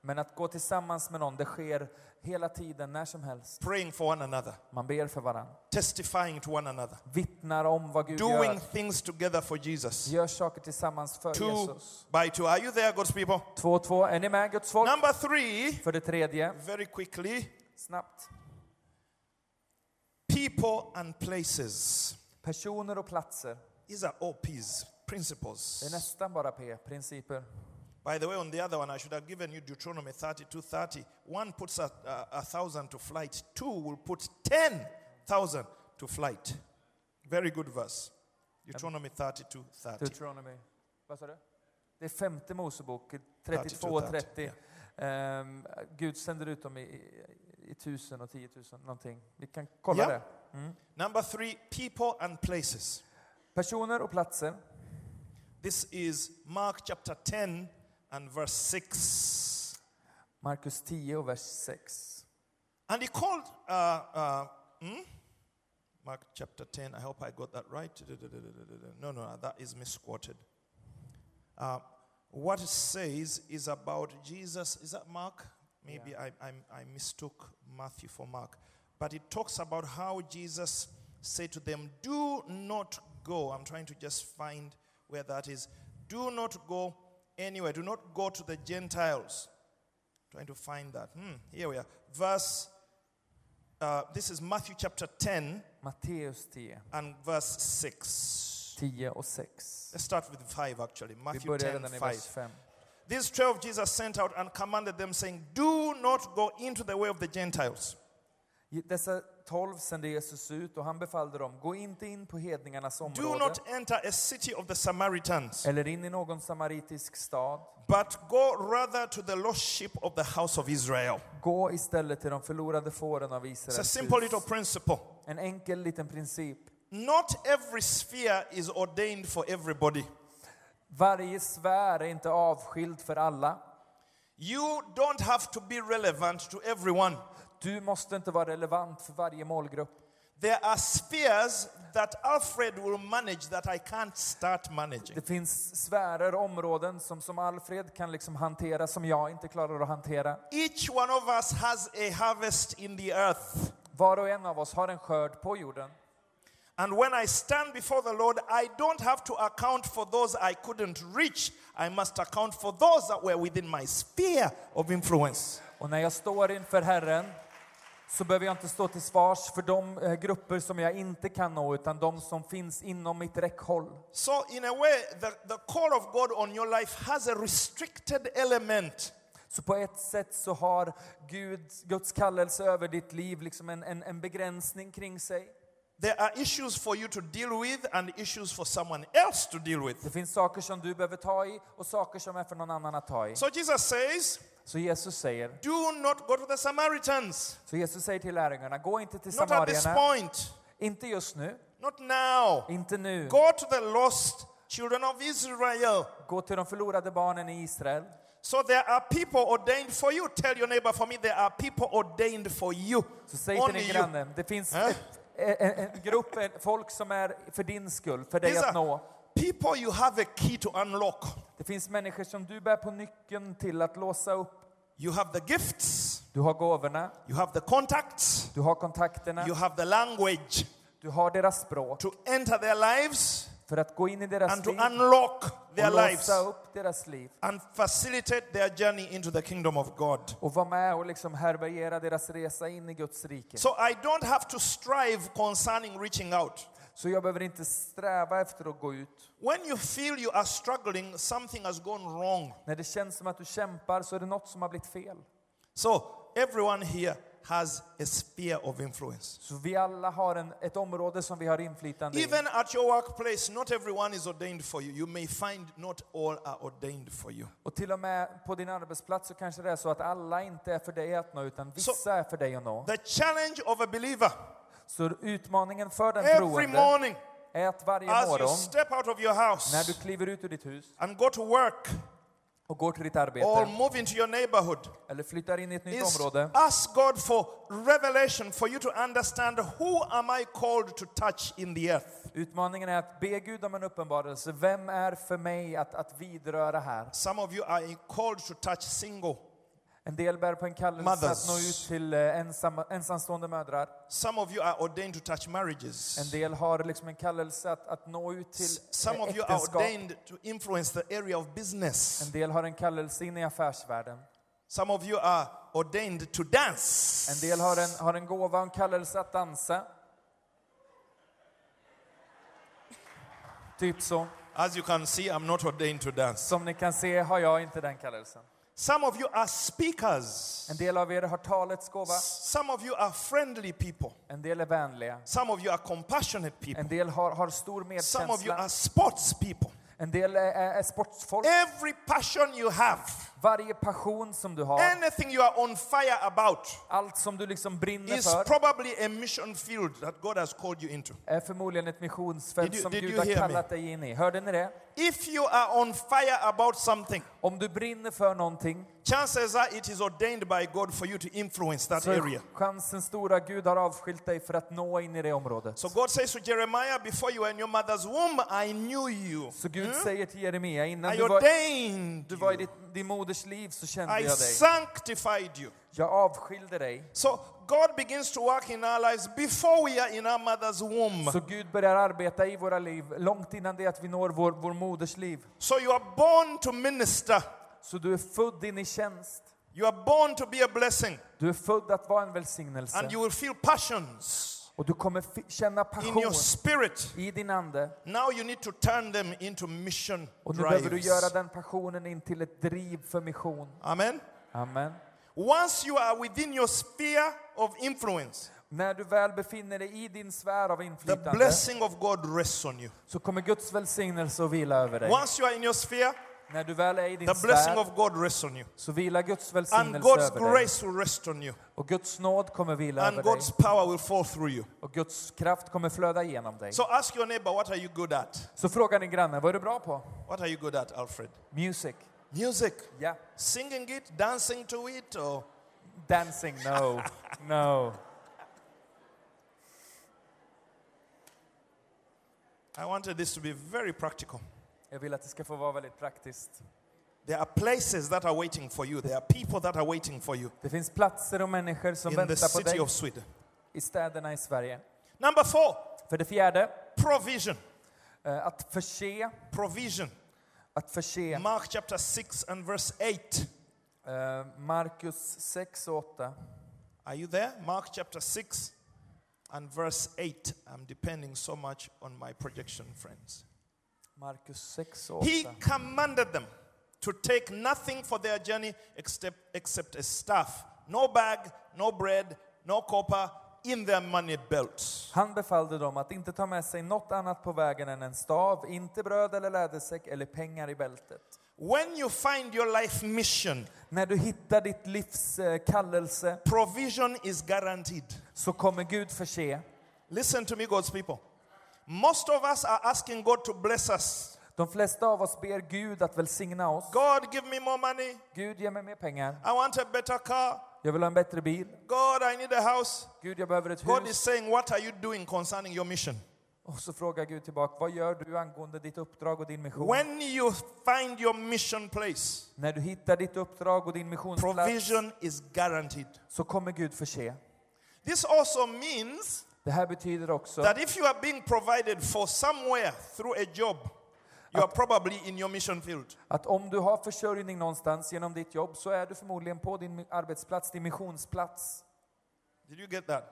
Speaker 2: Men att gå tillsammans med någon, det sker hela tiden, när som helst.
Speaker 1: praying for one another,
Speaker 2: Man ber för varandra,
Speaker 1: testifying to one another,
Speaker 2: vittnar om vad Gud
Speaker 1: doing
Speaker 2: gör.
Speaker 1: things together for Jesus.
Speaker 2: Gör saker tillsammans för
Speaker 1: Two
Speaker 2: Jesus.
Speaker 1: by two. Are you there, God's people?
Speaker 2: Två och två. Är ni med, Guds folk?
Speaker 1: Number three,
Speaker 2: För det tredje,
Speaker 1: very quickly
Speaker 2: snabbt.
Speaker 1: people and places.
Speaker 2: Personer och platser.
Speaker 1: These are OPs,
Speaker 2: Det är
Speaker 1: principles.
Speaker 2: nästan bara P, principer.
Speaker 1: By the way, on the other one, I should have given you Deuteronomy 32 30. One puts a, a, a thousand to flight, two will put 10,000 to flight. Very good verse. Deuteronomy 32 30.
Speaker 2: Deuteronomy. Vad sa du? Det är femte Mosebok, 32
Speaker 1: 32,
Speaker 2: och 30. Ehm, Gud sänder ut dem i, i, i tusen och tiotusen, någonting. Vi kan kolla
Speaker 1: Ja.
Speaker 2: det.
Speaker 1: Number three, people and places.
Speaker 2: Personer och platser.
Speaker 1: This is Mark chapter 10 and verse 6.
Speaker 2: Markus 10 och vers 6.
Speaker 1: And he called, uh, uh, hmm? Mark chapter 10, I hope I got that right. No, no, no, that is misquoted. Uh, what it says is about Jesus. Is that Mark? Maybe I, I, I mistook Matthew for Mark. But it talks about how Jesus said to them, Do not go. I'm trying to just find where that is. Do not go anywhere. Do not go to the Gentiles. Trying to find that. Hmm, here we are. Verse, uh, this is Matthew chapter 10
Speaker 2: Matteus 10,
Speaker 1: and verse 6.
Speaker 2: 10 och 6.
Speaker 1: Let's start with 5 actually.
Speaker 2: Vi
Speaker 1: Matthew
Speaker 2: börjar
Speaker 1: 10,
Speaker 2: redan i vers
Speaker 1: 5.
Speaker 2: 5.
Speaker 1: These 12 Jesus sent out and commanded them, saying, Do not go into the way of the Gentiles.
Speaker 2: Dessa tolv sände Jesus ut och han befallde dem, gå inte in på hedningarnas
Speaker 1: Do
Speaker 2: område
Speaker 1: not enter a city of the Samaritans,
Speaker 2: eller in i någon samaritisk stad.
Speaker 1: but go rather to the lost sheep of the house of Israel.
Speaker 2: Gå istället till de förlorade fåren av
Speaker 1: It's a
Speaker 2: Israels
Speaker 1: simple
Speaker 2: hus.
Speaker 1: little principle.
Speaker 2: En enkel liten princip.
Speaker 1: Not every sphere is ordained for everybody.
Speaker 2: Varje sfär är inte avskild för alla.
Speaker 1: You don't have to be relevant to everyone.
Speaker 2: Du måste inte vara relevant för varje målgrupp.
Speaker 1: There are spheres that Alfred will manage that I can't start managing.
Speaker 2: Det finns sfärer, områden som, som Alfred kan liksom hantera, som jag inte klarar att hantera.
Speaker 1: Each one of us has a harvest in the earth.
Speaker 2: Var och en av oss har en skörd på jorden.
Speaker 1: And when I stand before the Lord, I don't have to account for those I couldn't reach. I must account for those that were within my sphere of influence.
Speaker 2: Och när jag står inför Herren så behöver jag inte stå till svars för de eh, grupper som jag inte kan nå, utan de som finns inom mitt räckhåll.
Speaker 1: So, in a way, the, the call of God on your life has a restricted element.
Speaker 2: Så på ett sätt så har Gud, Guds kallelse över ditt liv liksom en, en, en begränsning kring sig.
Speaker 1: There are issues for you to deal with and issues for someone else to deal with.
Speaker 2: Det finns saker som du behöver ta i och saker som är för någon annan att ta i.
Speaker 1: So, Jesus says,
Speaker 2: Så Jesus säger,
Speaker 1: Do not go to the Samaritans.
Speaker 2: så Jesus säger till lärjungarna, gå inte till
Speaker 1: Not at this
Speaker 2: samarierna,
Speaker 1: point.
Speaker 2: inte just nu,
Speaker 1: Not now.
Speaker 2: inte nu.
Speaker 1: Go to the lost children of Israel.
Speaker 2: Gå till de förlorade barnen i Israel.
Speaker 1: So there are people ordained for you. Tell your neighbor for me, there are people ordained for you.
Speaker 2: Så säg till
Speaker 1: Only
Speaker 2: din
Speaker 1: you.
Speaker 2: granne, det finns
Speaker 1: Äh?
Speaker 2: ett, en, en- en grupp en, folk som är för din skull, för dig
Speaker 1: These
Speaker 2: att
Speaker 1: are
Speaker 2: nå.
Speaker 1: people you have a key to unlock.
Speaker 2: Det finns människor som du bär på nyckeln till att låsa upp.
Speaker 1: You have the gifts,
Speaker 2: Du har gåvorna,
Speaker 1: you have the contacts,
Speaker 2: du har kontakterna,
Speaker 1: you have the language
Speaker 2: du har deras språk
Speaker 1: to enter their lives
Speaker 2: för att gå in i deras
Speaker 1: and to
Speaker 2: liv
Speaker 1: unlock their
Speaker 2: och
Speaker 1: lives
Speaker 2: låsa upp deras liv.
Speaker 1: and facilitate their journey into the kingdom of God.
Speaker 2: och vara med och liksom härbärgera deras resa in i Guds rike.
Speaker 1: So I don't have to strive concerning reaching out.
Speaker 2: Så jag behöver inte sträva efter att gå ut.
Speaker 1: When you feel you are struggling, something has gone wrong.
Speaker 2: När det känns som att du kämpar så är det något som har blivit fel.
Speaker 1: So everyone here has a sphere of influence.
Speaker 2: Så vi alla har en, ett område som vi har inflytande i.
Speaker 1: Even at your workplace, not everyone is ordained for you. You may find not all are ordained for you.
Speaker 2: Och till och med på din arbetsplats så kanske det är så att alla inte är för dig att nå utan vissa
Speaker 1: Så-
Speaker 2: är för dig att nå.
Speaker 1: The challenge of a believer
Speaker 2: Så utmaningen för den
Speaker 1: every
Speaker 2: troende
Speaker 1: morning
Speaker 2: är att varje
Speaker 1: as you
Speaker 2: morgon
Speaker 1: step out of your
Speaker 2: när du
Speaker 1: house
Speaker 2: kliver ut ur ditt hus
Speaker 1: and go to work
Speaker 2: och går till ditt
Speaker 1: or
Speaker 2: arbete
Speaker 1: move into your neighborhood
Speaker 2: eller flyttar in i ett nytt
Speaker 1: is
Speaker 2: område
Speaker 1: ask God for revelation for you to understand who am I called to touch in the earth.
Speaker 2: Utmaningen är att be Gud om en uppenbarelse. Vem är för mig att, att vidröra här?
Speaker 1: Some of you are called to touch single.
Speaker 2: En del bär på en kallelse
Speaker 1: Mothers.
Speaker 2: att nå ut till eh, ensamma, ensamstående mödrar.
Speaker 1: Some of you are ordained to touch marriages.
Speaker 2: En del har liksom en kallelse att, att nå ut till
Speaker 1: Some
Speaker 2: eh,
Speaker 1: of you are
Speaker 2: äktenskap.
Speaker 1: ordained to influence the area of business.
Speaker 2: En del har en kallelse in i affärsvärlden.
Speaker 1: Some of you are ordained to dance.
Speaker 2: En del har en, har en gåva och en kallelse att dansa. Typ så.
Speaker 1: As you can see, I'm not ordained to dance.
Speaker 2: Som ni kan se har jag inte den kallelsen.
Speaker 1: Some of you are speakers.
Speaker 2: En del av er har talets gåva.
Speaker 1: Some of you are friendly people.
Speaker 2: En del är vänliga.
Speaker 1: Some of you are compassionate
Speaker 2: En
Speaker 1: people.
Speaker 2: del har, har stor
Speaker 1: Some of you
Speaker 2: medkänsla.
Speaker 1: are sports people.
Speaker 2: En del är, är, är sportsfolk.
Speaker 1: Every passion you have,
Speaker 2: Varje passion som du har,
Speaker 1: anything you are on fire about,
Speaker 2: allt som du liksom brinner
Speaker 1: is
Speaker 2: för,
Speaker 1: probably a mission field that God has called you into.
Speaker 2: är förmodligen ett missionsfält
Speaker 1: Did you-
Speaker 2: som
Speaker 1: did
Speaker 2: Gud
Speaker 1: you
Speaker 2: har
Speaker 1: hear me?
Speaker 2: kallat dig in i. Hörde ni det?
Speaker 1: If you are on fire about something,
Speaker 2: Om du brinner för någonting
Speaker 1: chances are it is ordained by God for you to influence that
Speaker 2: så är
Speaker 1: area.
Speaker 2: Alltså, chansen stora Gud har avskilt dig för att nå in i det området.
Speaker 1: So God says to Jeremiah, Before you were in your mother's womb, I knew you.
Speaker 2: Så Gud säger till Jeremia, innan
Speaker 1: Mm. I
Speaker 2: du var,
Speaker 1: ordained
Speaker 2: du var i
Speaker 1: you.
Speaker 2: ditt, din moders liv så kände
Speaker 1: I
Speaker 2: jag dig.
Speaker 1: sanctified you.
Speaker 2: Jag avskilde dig.
Speaker 1: So God begins to work in our lives before we are in our mother's womb.
Speaker 2: Så Gud börjar arbeta i våra liv långt innan det att vi når vår, vår moders liv.
Speaker 1: So you are born to minister.
Speaker 2: Så du är född in i tjänst.
Speaker 1: You are born to be a blessing.
Speaker 2: Du är född att vara en välsignelse.
Speaker 1: And you will feel passions
Speaker 2: Och du kommer fi- känna
Speaker 1: in your
Speaker 2: passion
Speaker 1: spirit.
Speaker 2: i din ande.
Speaker 1: Now you need to turn them into mission
Speaker 2: Och nu behöver du göra
Speaker 1: drives.
Speaker 2: den passionen in till ett driv för mission.
Speaker 1: Amen.
Speaker 2: Amen.
Speaker 1: Once you are within your sphere of influence,
Speaker 2: När du väl befinner dig i din sfär av
Speaker 1: the
Speaker 2: inflytande
Speaker 1: blessing of God rests on you.
Speaker 2: så kommer Guds välsignelse att vila över dig.
Speaker 1: Once you are in your sphere,
Speaker 2: När du väl är i din
Speaker 1: the blessing
Speaker 2: sfär
Speaker 1: of God rests on you.
Speaker 2: så vilar
Speaker 1: And
Speaker 2: Guds välsignelse
Speaker 1: God's
Speaker 2: över dig.
Speaker 1: grace will rest on you.
Speaker 2: Och Guds nåd kommer vila
Speaker 1: And
Speaker 2: över dig.
Speaker 1: God's power will fall through you.
Speaker 2: Och Guds kraft kommer flöda genom dig.
Speaker 1: So ask your neighbor, what are you good at?
Speaker 2: Så fråga din granne, vad är du bra på?
Speaker 1: What are you good at, Alfred?
Speaker 2: Music.
Speaker 1: Music.
Speaker 2: Ja.
Speaker 1: Singing it, dancing to it, or
Speaker 2: Dancing, no. No.
Speaker 1: I wanted this to be very practical.
Speaker 2: Jag vill att det ska få vara väldigt praktiskt.
Speaker 1: There are places that are waiting for you. There are people that are waiting for you
Speaker 2: Det finns platser och människor som
Speaker 1: in the
Speaker 2: väntar på
Speaker 1: city
Speaker 2: dig
Speaker 1: of Sweden.
Speaker 2: i städerna i Sverige.
Speaker 1: Number four,
Speaker 2: För det fjärde,
Speaker 1: provision.
Speaker 2: eh, att förse.
Speaker 1: Provision.
Speaker 2: Att förse.
Speaker 1: Mark chapter 6 and verse 8.
Speaker 2: Eh, Markus 6 och 8.
Speaker 1: Are you there? Mark chapter 6 and verse 8. I'm depending so much on my projection, friends.
Speaker 2: Markus 6 och 8.
Speaker 1: He commanded them to take nothing for their journey except, except a staff, no bag, no bread, no copper in their money belt.
Speaker 2: Han befallde dem att inte ta med sig något annat på vägen än en stav, inte bröd eller lädersäck eller pengar i bältet.
Speaker 1: When you find your life mission,
Speaker 2: När du hittar ditt livs eh, kallelse
Speaker 1: provision is guaranteed.
Speaker 2: så kommer Gud förse.
Speaker 1: Listen to me, God's people. Most of us are asking God to bless us.
Speaker 2: De flesta av oss ber Gud att välsigna oss.
Speaker 1: God, give me more money.
Speaker 2: Gud, ge mig mer pengar.
Speaker 1: I want a better car.
Speaker 2: Jag vill ha en bättre bil.
Speaker 1: God, I need a house.
Speaker 2: Gud, jag behöver ett
Speaker 1: God is
Speaker 2: hus.
Speaker 1: saying, What are you doing concerning your mission?
Speaker 2: Och så frågar Gud tillbaka, vad gör du angående ditt uppdrag och din mission?
Speaker 1: When you find your mission place,
Speaker 2: När du hittar ditt uppdrag och din missionsplats
Speaker 1: provision is guaranteed.
Speaker 2: så kommer Gud förse.
Speaker 1: This also means
Speaker 2: Det här betyder också
Speaker 1: that if you are being provided for somewhere through a job, you are probably in your mission field.
Speaker 2: att om du har försörjning någonstans genom ditt jobb så är du förmodligen på din mi- arbetsplats, din missionsplats.
Speaker 1: Did you get that?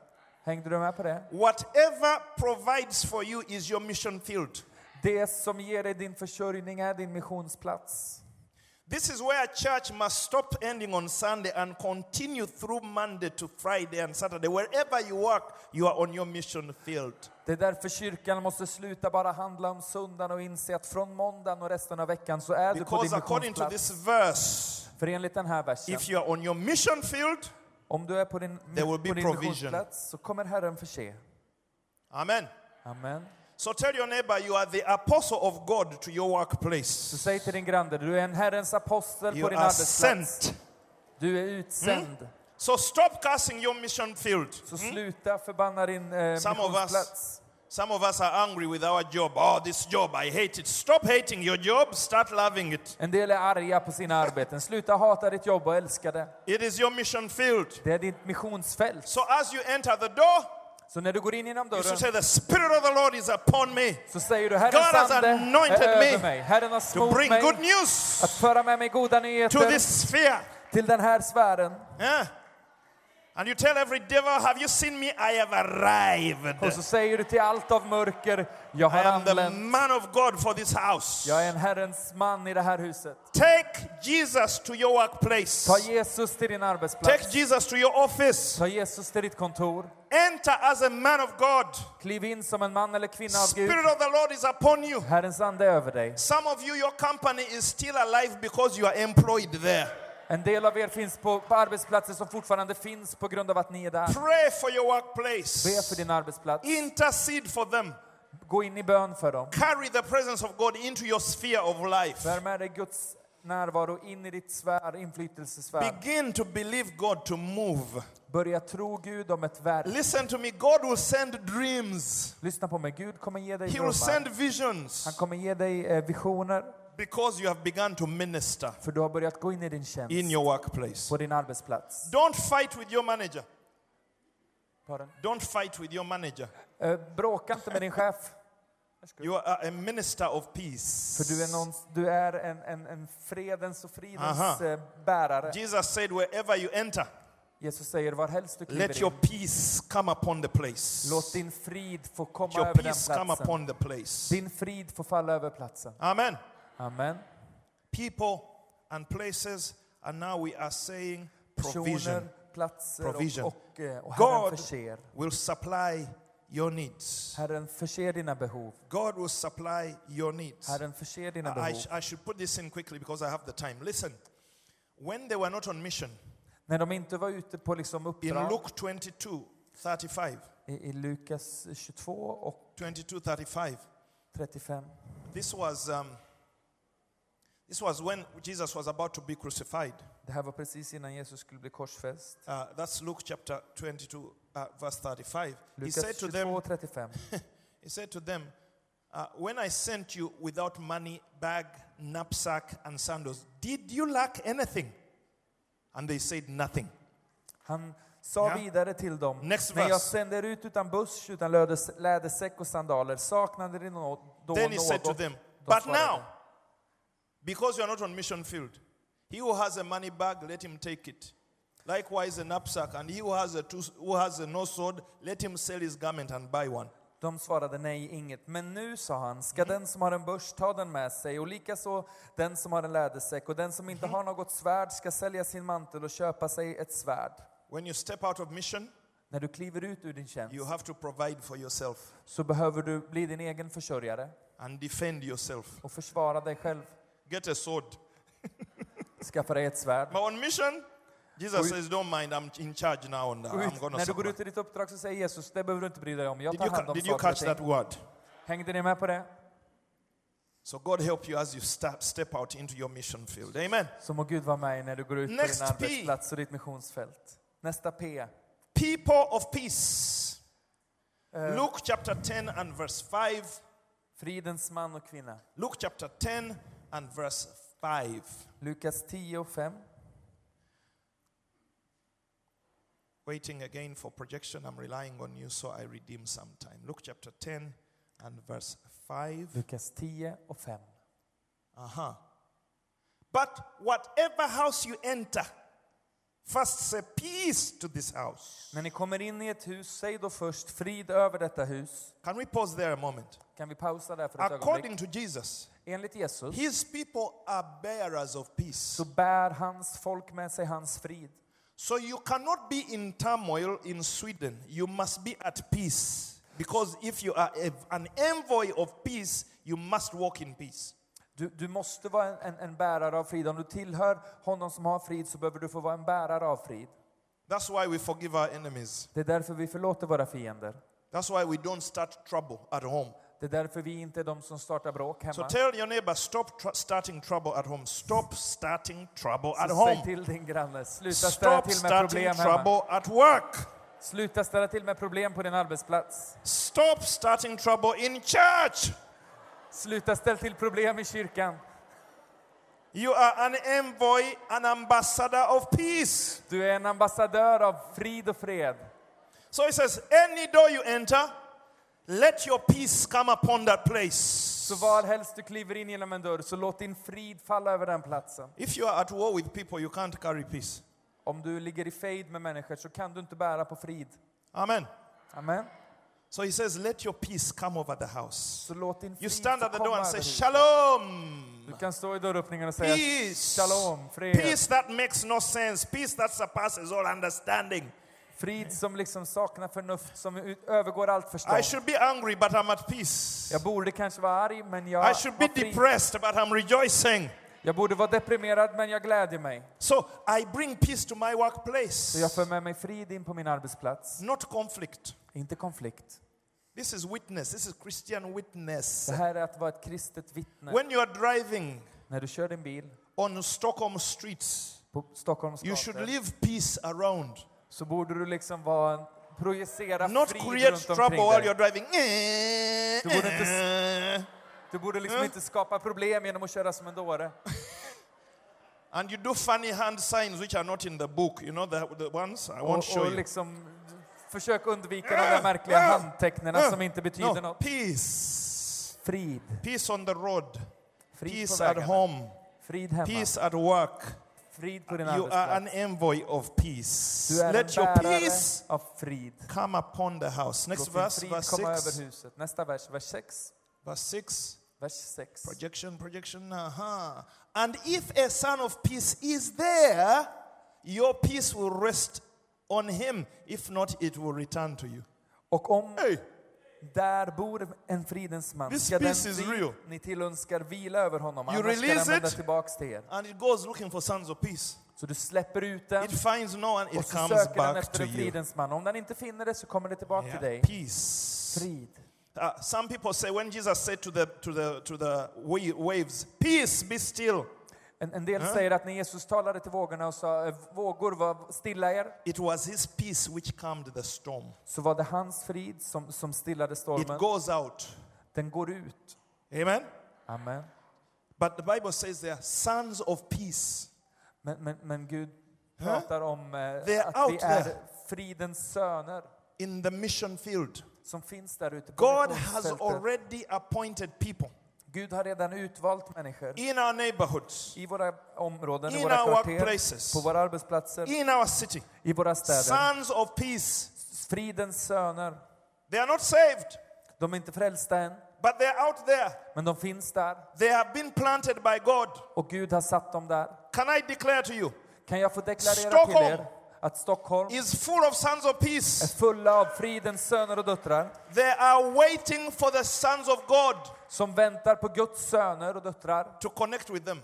Speaker 2: Hängde du med på det?
Speaker 1: Whatever provides for you is your mission field.
Speaker 2: Det som ger dig din försörjning är din missionsplats.
Speaker 1: This is where church must stop ending on Sunday and continue through Monday to Friday and Saturday. Wherever you work, you are on your mission field.
Speaker 2: Det är därför kyrkan måste sluta bara handla om söndagen och inse att från måndagen och resten av veckan så är du på
Speaker 1: Because
Speaker 2: din
Speaker 1: according to
Speaker 2: missionsplats.
Speaker 1: this verse,
Speaker 2: För enligt den här versen,
Speaker 1: if you are on your mission field,
Speaker 2: om du är på din,
Speaker 1: There will
Speaker 2: på
Speaker 1: be
Speaker 2: din
Speaker 1: provision.
Speaker 2: missionsplats så kommer Herren förse.
Speaker 1: amen.
Speaker 2: Amen.
Speaker 1: So tell your neighbor you are the apostle of God to your
Speaker 2: Så
Speaker 1: workplace.
Speaker 2: säg till din granne, du är en Herrens apostel
Speaker 1: You
Speaker 2: på din
Speaker 1: are
Speaker 2: arbetsplats.
Speaker 1: sent. Mm?
Speaker 2: Du är utsänd.
Speaker 1: So stop cursing your mission field.
Speaker 2: Så sluta förbanna din eh,
Speaker 1: Mm. Some of us-
Speaker 2: missionsplats.
Speaker 1: Some of us are angry with our job. Oh, this job, I hate it. Stop hating your job, start loving it.
Speaker 2: En del är arga på sina arbeten. Sluta hata ditt jobb och älska det.
Speaker 1: It is your mission field.
Speaker 2: Det är ditt missionsfält.
Speaker 1: So as you enter the door,
Speaker 2: Så när du går in genom
Speaker 1: you
Speaker 2: dörren
Speaker 1: should say, The Spirit of the Lord is upon me
Speaker 2: så säger du
Speaker 1: God
Speaker 2: Herrens
Speaker 1: has
Speaker 2: ande
Speaker 1: anointed
Speaker 2: är
Speaker 1: me
Speaker 2: över mig. Herren har
Speaker 1: to
Speaker 2: smort
Speaker 1: bring
Speaker 2: mig
Speaker 1: good news
Speaker 2: att föra med mig goda
Speaker 1: to
Speaker 2: nyheter
Speaker 1: this sphere.
Speaker 2: till den här sfären.
Speaker 1: Yeah. And you tell every devil, Have you seen me? I have
Speaker 2: Och
Speaker 1: arrived.
Speaker 2: så säger du till allt av mörker, jag
Speaker 1: I
Speaker 2: har
Speaker 1: am the
Speaker 2: anlänt.
Speaker 1: man of God for this house.
Speaker 2: Jag är en Herrens man i det här huset.
Speaker 1: Take Jesus to your workplace.
Speaker 2: Ta Jesus till din arbetsplats.
Speaker 1: Take Jesus to your office.
Speaker 2: Ta Jesus till ditt kontor.
Speaker 1: Enter as a man of God.
Speaker 2: Kliv in som en man eller kvinna av Gud.
Speaker 1: Spirit of the Lord is upon you.
Speaker 2: Herrens ande är över dig.
Speaker 1: Some of you, your company is still alive because you are employed there.
Speaker 2: En del av er finns på, på arbetsplatser som fortfarande finns på grund av att ni är där.
Speaker 1: Pray for your
Speaker 2: Be för
Speaker 1: workplace.
Speaker 2: din arbetsplats.
Speaker 1: Intercede for them.
Speaker 2: Gå in i bön för dem.
Speaker 1: Carry the presence of God into your sphere of life.
Speaker 2: Bär med dig Guds närvaro in i ditt sfär, inflytelsesfär.
Speaker 1: Begin to believe God to move.
Speaker 2: Börja tro Gud om ett verk.
Speaker 1: Listen to me. God will send dreams.
Speaker 2: Lyssna på mig. Gud kommer ge dig
Speaker 1: He will send
Speaker 2: drömmar.
Speaker 1: visions
Speaker 2: Han kommer ge dig eh, visioner,
Speaker 1: because you have begun to minister
Speaker 2: för du har börjat gå in i din
Speaker 1: in
Speaker 2: tjänst
Speaker 1: your workplace.
Speaker 2: på din arbetsplats.
Speaker 1: Don't fight with your manager.
Speaker 2: Pardon.
Speaker 1: Don't fight with your manager.
Speaker 2: Eh, Bråka inte med din chef,
Speaker 1: You are a minister of peace.
Speaker 2: för du är, någon, du är en, en, en fredens och fridens
Speaker 1: Aha.
Speaker 2: eh, bärare.
Speaker 1: Jesus said, Wherever you enter,
Speaker 2: Jesus säger, varhelst du
Speaker 1: let
Speaker 2: kliver
Speaker 1: your
Speaker 2: in,
Speaker 1: peace come upon the place.
Speaker 2: låt din frid få komma
Speaker 1: Your
Speaker 2: över den
Speaker 1: peace come
Speaker 2: platsen.
Speaker 1: upon the place.
Speaker 2: Din frid får falla över platsen.
Speaker 1: Amen.
Speaker 2: Amen.
Speaker 1: People and places, and now we are saying provision.
Speaker 2: Personer, platser
Speaker 1: Provision.
Speaker 2: och, och, eh, och Herren
Speaker 1: God
Speaker 2: förser.
Speaker 1: will supply your needs.
Speaker 2: Herren förser dina behov.
Speaker 1: God will supply your needs.
Speaker 2: Herren förser dina
Speaker 1: I,
Speaker 2: behov.
Speaker 1: sh- I should put this in quickly because I have the time. Listen, when they were not on mission,
Speaker 2: När de inte var ute på liksom
Speaker 1: in
Speaker 2: uppdrag
Speaker 1: Luke 22 35,
Speaker 2: i, i Lukas 22 och
Speaker 1: 22 35,
Speaker 2: 35.
Speaker 1: this was, um, this was when Jesus was about to be crucified.
Speaker 2: Det här var precis innan Jesus skulle bli korsfäst.
Speaker 1: Uh, that's Luke chapter 22, uh, verse 35. He said
Speaker 2: Lukas
Speaker 1: to them,
Speaker 2: 22 och 35.
Speaker 1: He said to them, uh, When I sent you without money, bag, knapsack, and sandals, did you lack anything? And they said, Nothing.
Speaker 2: Han sa
Speaker 1: Ja.
Speaker 2: vidare till dem.
Speaker 1: Next
Speaker 2: När jag
Speaker 1: verse.
Speaker 2: sände er ut utan buss, utan lödes- lädersäck och sandaler, saknade ni nå- då
Speaker 1: Then he said to
Speaker 2: något?
Speaker 1: them,
Speaker 2: De
Speaker 1: But
Speaker 2: svarade,
Speaker 1: now, because you are not on mission field, he who has a money bag, let him take it. Likewise, a knapsack, and he who has a two, who has a no sword, let him sell his garment and buy one.
Speaker 2: De svarade nej, inget. Men nu, sa han, ska
Speaker 1: Mm.
Speaker 2: den som har en börs ta den med sig och likaså den som har en lädersäck och den som
Speaker 1: Mm-hmm.
Speaker 2: inte har något svärd ska sälja sin mantel och köpa sig ett svärd.
Speaker 1: When you step out of mission,
Speaker 2: När du kliver ut ur din tjänst
Speaker 1: you have to provide for yourself
Speaker 2: så behöver du bli din egen försörjare
Speaker 1: and defend yourself.
Speaker 2: och försvara dig själv.
Speaker 1: Get a sword.
Speaker 2: Skaffa dig ett svärd.
Speaker 1: But on mission, Jesus
Speaker 2: Gå ut-
Speaker 1: says, Don't mind, I'm in charge now. And uh,
Speaker 2: Gå
Speaker 1: I'm
Speaker 2: Ut,
Speaker 1: going to
Speaker 2: när du går ut i ditt uppdrag så säger Jesus, det behöver du inte bry dig om. Jag
Speaker 1: Did you,
Speaker 2: tar hand
Speaker 1: ca-
Speaker 2: om
Speaker 1: did you catch
Speaker 2: saker och
Speaker 1: that
Speaker 2: ting.
Speaker 1: word?
Speaker 2: Hängde ni med på det?
Speaker 1: So God help you as you step, step out into your mission field. Amen.
Speaker 2: Så må Gud vara med när du går ut på
Speaker 1: Next
Speaker 2: din
Speaker 1: P.
Speaker 2: arbetsplats och ditt missionsfält. Nästa P.
Speaker 1: People of peace. Luke chapter 10 and verse 5.
Speaker 2: Fridens man och kvinna.
Speaker 1: Luke chapter 10 and verse 5.
Speaker 2: Lukas 10 och 5.
Speaker 1: Waiting again for projection. I'm relying on you, so I redeem some time. Luke chapter 10 and verse 5.
Speaker 2: Lukas 10 och 5.
Speaker 1: Uh-huh. But whatever house you enter, first say peace to this house.
Speaker 2: När ni kommer in i ett hus, säg då först frid över detta hus.
Speaker 1: Can we pause there a moment?
Speaker 2: Kan vi pausa där för ett ögonblick?
Speaker 1: According to Jesus,
Speaker 2: Enligt Jesus
Speaker 1: his people are bearers of peace.
Speaker 2: så bär hans folk med sig hans frid.
Speaker 1: So you cannot be in turmoil in Sweden. You must be at peace. Because if you are ev- an envoy of peace, you must walk in peace.
Speaker 2: Du, du måste vara en, en, en bärare av frid. Om du tillhör honom som har frid så behöver du få vara en bärare av frid.
Speaker 1: That's why we forgive our enemies.
Speaker 2: Det är därför vi förlåter våra fiender.
Speaker 1: That's why we don't start trouble at home.
Speaker 2: Det är därför vi inte är de som startar bråk hemma.
Speaker 1: So tell your neighbor, stop tr- starting trouble at home. Stop starting trouble at
Speaker 2: Så säg
Speaker 1: home.
Speaker 2: till din granne, sluta ställa
Speaker 1: Stop
Speaker 2: till med
Speaker 1: starting
Speaker 2: problem hemma.
Speaker 1: trouble at work.
Speaker 2: Sluta ställa till med problem på din arbetsplats.
Speaker 1: Stop starting trouble in church.
Speaker 2: Sluta ställa till problem i kyrkan.
Speaker 1: You are an envoy, an ambassador of peace.
Speaker 2: Du är en ambassadör av frid och fred.
Speaker 1: So he says, any door you enter, let your peace come upon that place.
Speaker 2: Så var helst du kliver in genom en dörr, så låt din frid falla över den platsen.
Speaker 1: If you are at war with people, you can't carry peace.
Speaker 2: Om du ligger i fejd med människor så kan du inte bära på frid.
Speaker 1: Amen.
Speaker 2: Amen.
Speaker 1: So he says, let your peace come over the house.
Speaker 2: Så låt din
Speaker 1: You
Speaker 2: frid
Speaker 1: stand
Speaker 2: få
Speaker 1: at the
Speaker 2: komma
Speaker 1: door and
Speaker 2: över
Speaker 1: say,
Speaker 2: huset.
Speaker 1: Shalom.
Speaker 2: Du kan stå i dörröppningen och säga
Speaker 1: Peace.
Speaker 2: Shalom, fred.
Speaker 1: Peace that makes no sense. Peace that surpasses all understanding.
Speaker 2: Frid som liksom saknar förnuft, som ut- övergår allt
Speaker 1: I
Speaker 2: förstånd.
Speaker 1: should be angry, but I'm at peace.
Speaker 2: Jag borde kanske vara arg, men jag,
Speaker 1: I should be
Speaker 2: var fri.
Speaker 1: depressed, but I'm rejoicing.
Speaker 2: jag borde vara deprimerad, men jag glädjer mig.
Speaker 1: So I bring peace to my
Speaker 2: Så jag
Speaker 1: workplace,
Speaker 2: för med mig frid in på min arbetsplats,
Speaker 1: not conflict.
Speaker 2: inte konflikt.
Speaker 1: This is witness. This is Christian witness.
Speaker 2: Det här är att vara ett kristet vittne.
Speaker 1: When you are driving
Speaker 2: När du kör din bil
Speaker 1: on Stockholm streets,
Speaker 2: på Stockholms
Speaker 1: you should
Speaker 2: gator
Speaker 1: leave peace around,
Speaker 2: så borde du liksom vara en, projicera
Speaker 1: not
Speaker 2: frid
Speaker 1: create
Speaker 2: runt omkring
Speaker 1: trouble while
Speaker 2: dig.
Speaker 1: you're driving. Eh.
Speaker 2: borde Du borde liksom inte skapa problem genom att köra som en dåre.
Speaker 1: And you do funny hand signs which are not in the book. You know the, the ones I
Speaker 2: Och,
Speaker 1: won't show
Speaker 2: och
Speaker 1: you.
Speaker 2: liksom försök undvika de där märkliga handtecknen som inte betyder
Speaker 1: No,
Speaker 2: något.
Speaker 1: peace.
Speaker 2: Frid.
Speaker 1: Peace on the road.
Speaker 2: Frid på
Speaker 1: peace at
Speaker 2: vägarna.
Speaker 1: home.
Speaker 2: Frid hemma.
Speaker 1: Peace at work.
Speaker 2: Frid på din
Speaker 1: You are an
Speaker 2: arbetsplats.
Speaker 1: envoy of peace.
Speaker 2: Du är en
Speaker 1: Let your
Speaker 2: bärare
Speaker 1: peace
Speaker 2: av frid.
Speaker 1: come upon the house. Next
Speaker 2: Låt din
Speaker 1: verse,
Speaker 2: frid
Speaker 1: verse
Speaker 2: komma
Speaker 1: 6.
Speaker 2: över huset. Nästa vers, vers 6.
Speaker 1: Verse 6.
Speaker 2: Vers 6.
Speaker 1: Projection, projection. Uh-huh. And if a son of peace is there, your peace will rest on him. If not, it will return to you.
Speaker 2: Och om
Speaker 1: Hey,
Speaker 2: där bor en fridens man
Speaker 1: This
Speaker 2: ska den
Speaker 1: peace is
Speaker 2: frid
Speaker 1: real.
Speaker 2: ni tillönskar vila över honom,
Speaker 1: You
Speaker 2: annars ska den
Speaker 1: release
Speaker 2: vända
Speaker 1: it.
Speaker 2: tillbaks till er.
Speaker 1: and it goes looking for sons of peace.
Speaker 2: Så du släpper ut den
Speaker 1: It finds no one,
Speaker 2: och
Speaker 1: it
Speaker 2: så
Speaker 1: comes
Speaker 2: söker den
Speaker 1: back
Speaker 2: efter
Speaker 1: to
Speaker 2: en
Speaker 1: you.
Speaker 2: fridens man. Om den inte finner det så kommer det tillbaka till
Speaker 1: Yeah,
Speaker 2: dig.
Speaker 1: Peace.
Speaker 2: Frid.
Speaker 1: Uh, some people say when Jesus said to the to the to the wa- waves, "Peace, be still,"
Speaker 2: En, en del säger att när Jesus talade till vågorna och sa "Eh, vågor var stilla er,
Speaker 1: it was His peace which calmed the storm.
Speaker 2: så var det hans frid som, som stillade
Speaker 1: It
Speaker 2: stormen.
Speaker 1: goes out.
Speaker 2: Den går ut.
Speaker 1: Amen.
Speaker 2: Amen.
Speaker 1: But the Bible says they are sons of peace.
Speaker 2: Men, men, men Gud pratar om
Speaker 1: They
Speaker 2: eh,
Speaker 1: are
Speaker 2: att vi
Speaker 1: out there.
Speaker 2: är fridens söner
Speaker 1: in the mission field.
Speaker 2: som finns där ute på
Speaker 1: God has
Speaker 2: missionsfältet.
Speaker 1: already appointed people
Speaker 2: Gud har redan utvalt människor
Speaker 1: in our neighborhoods,
Speaker 2: i våra områden,
Speaker 1: In
Speaker 2: i våra
Speaker 1: our
Speaker 2: kvarter,
Speaker 1: workplaces.
Speaker 2: på våra arbetsplatser,
Speaker 1: in our city.
Speaker 2: i våra städer.
Speaker 1: Sons of peace.
Speaker 2: Fridens söner.
Speaker 1: They are not saved,
Speaker 2: De är inte frälsta än,
Speaker 1: but they are out there.
Speaker 2: men de finns där.
Speaker 1: They have been planted by God.
Speaker 2: Och Gud har satt dem där.
Speaker 1: Can I declare to you?
Speaker 2: Kan jag få deklarera
Speaker 1: Stockholm.
Speaker 2: till er att Stockholm
Speaker 1: Is full of sons of
Speaker 2: är
Speaker 1: peace.
Speaker 2: fulla av fridens söner och döttrar
Speaker 1: They are waiting for the sons of God
Speaker 2: som väntar på Guds söner och döttrar
Speaker 1: to connect with them.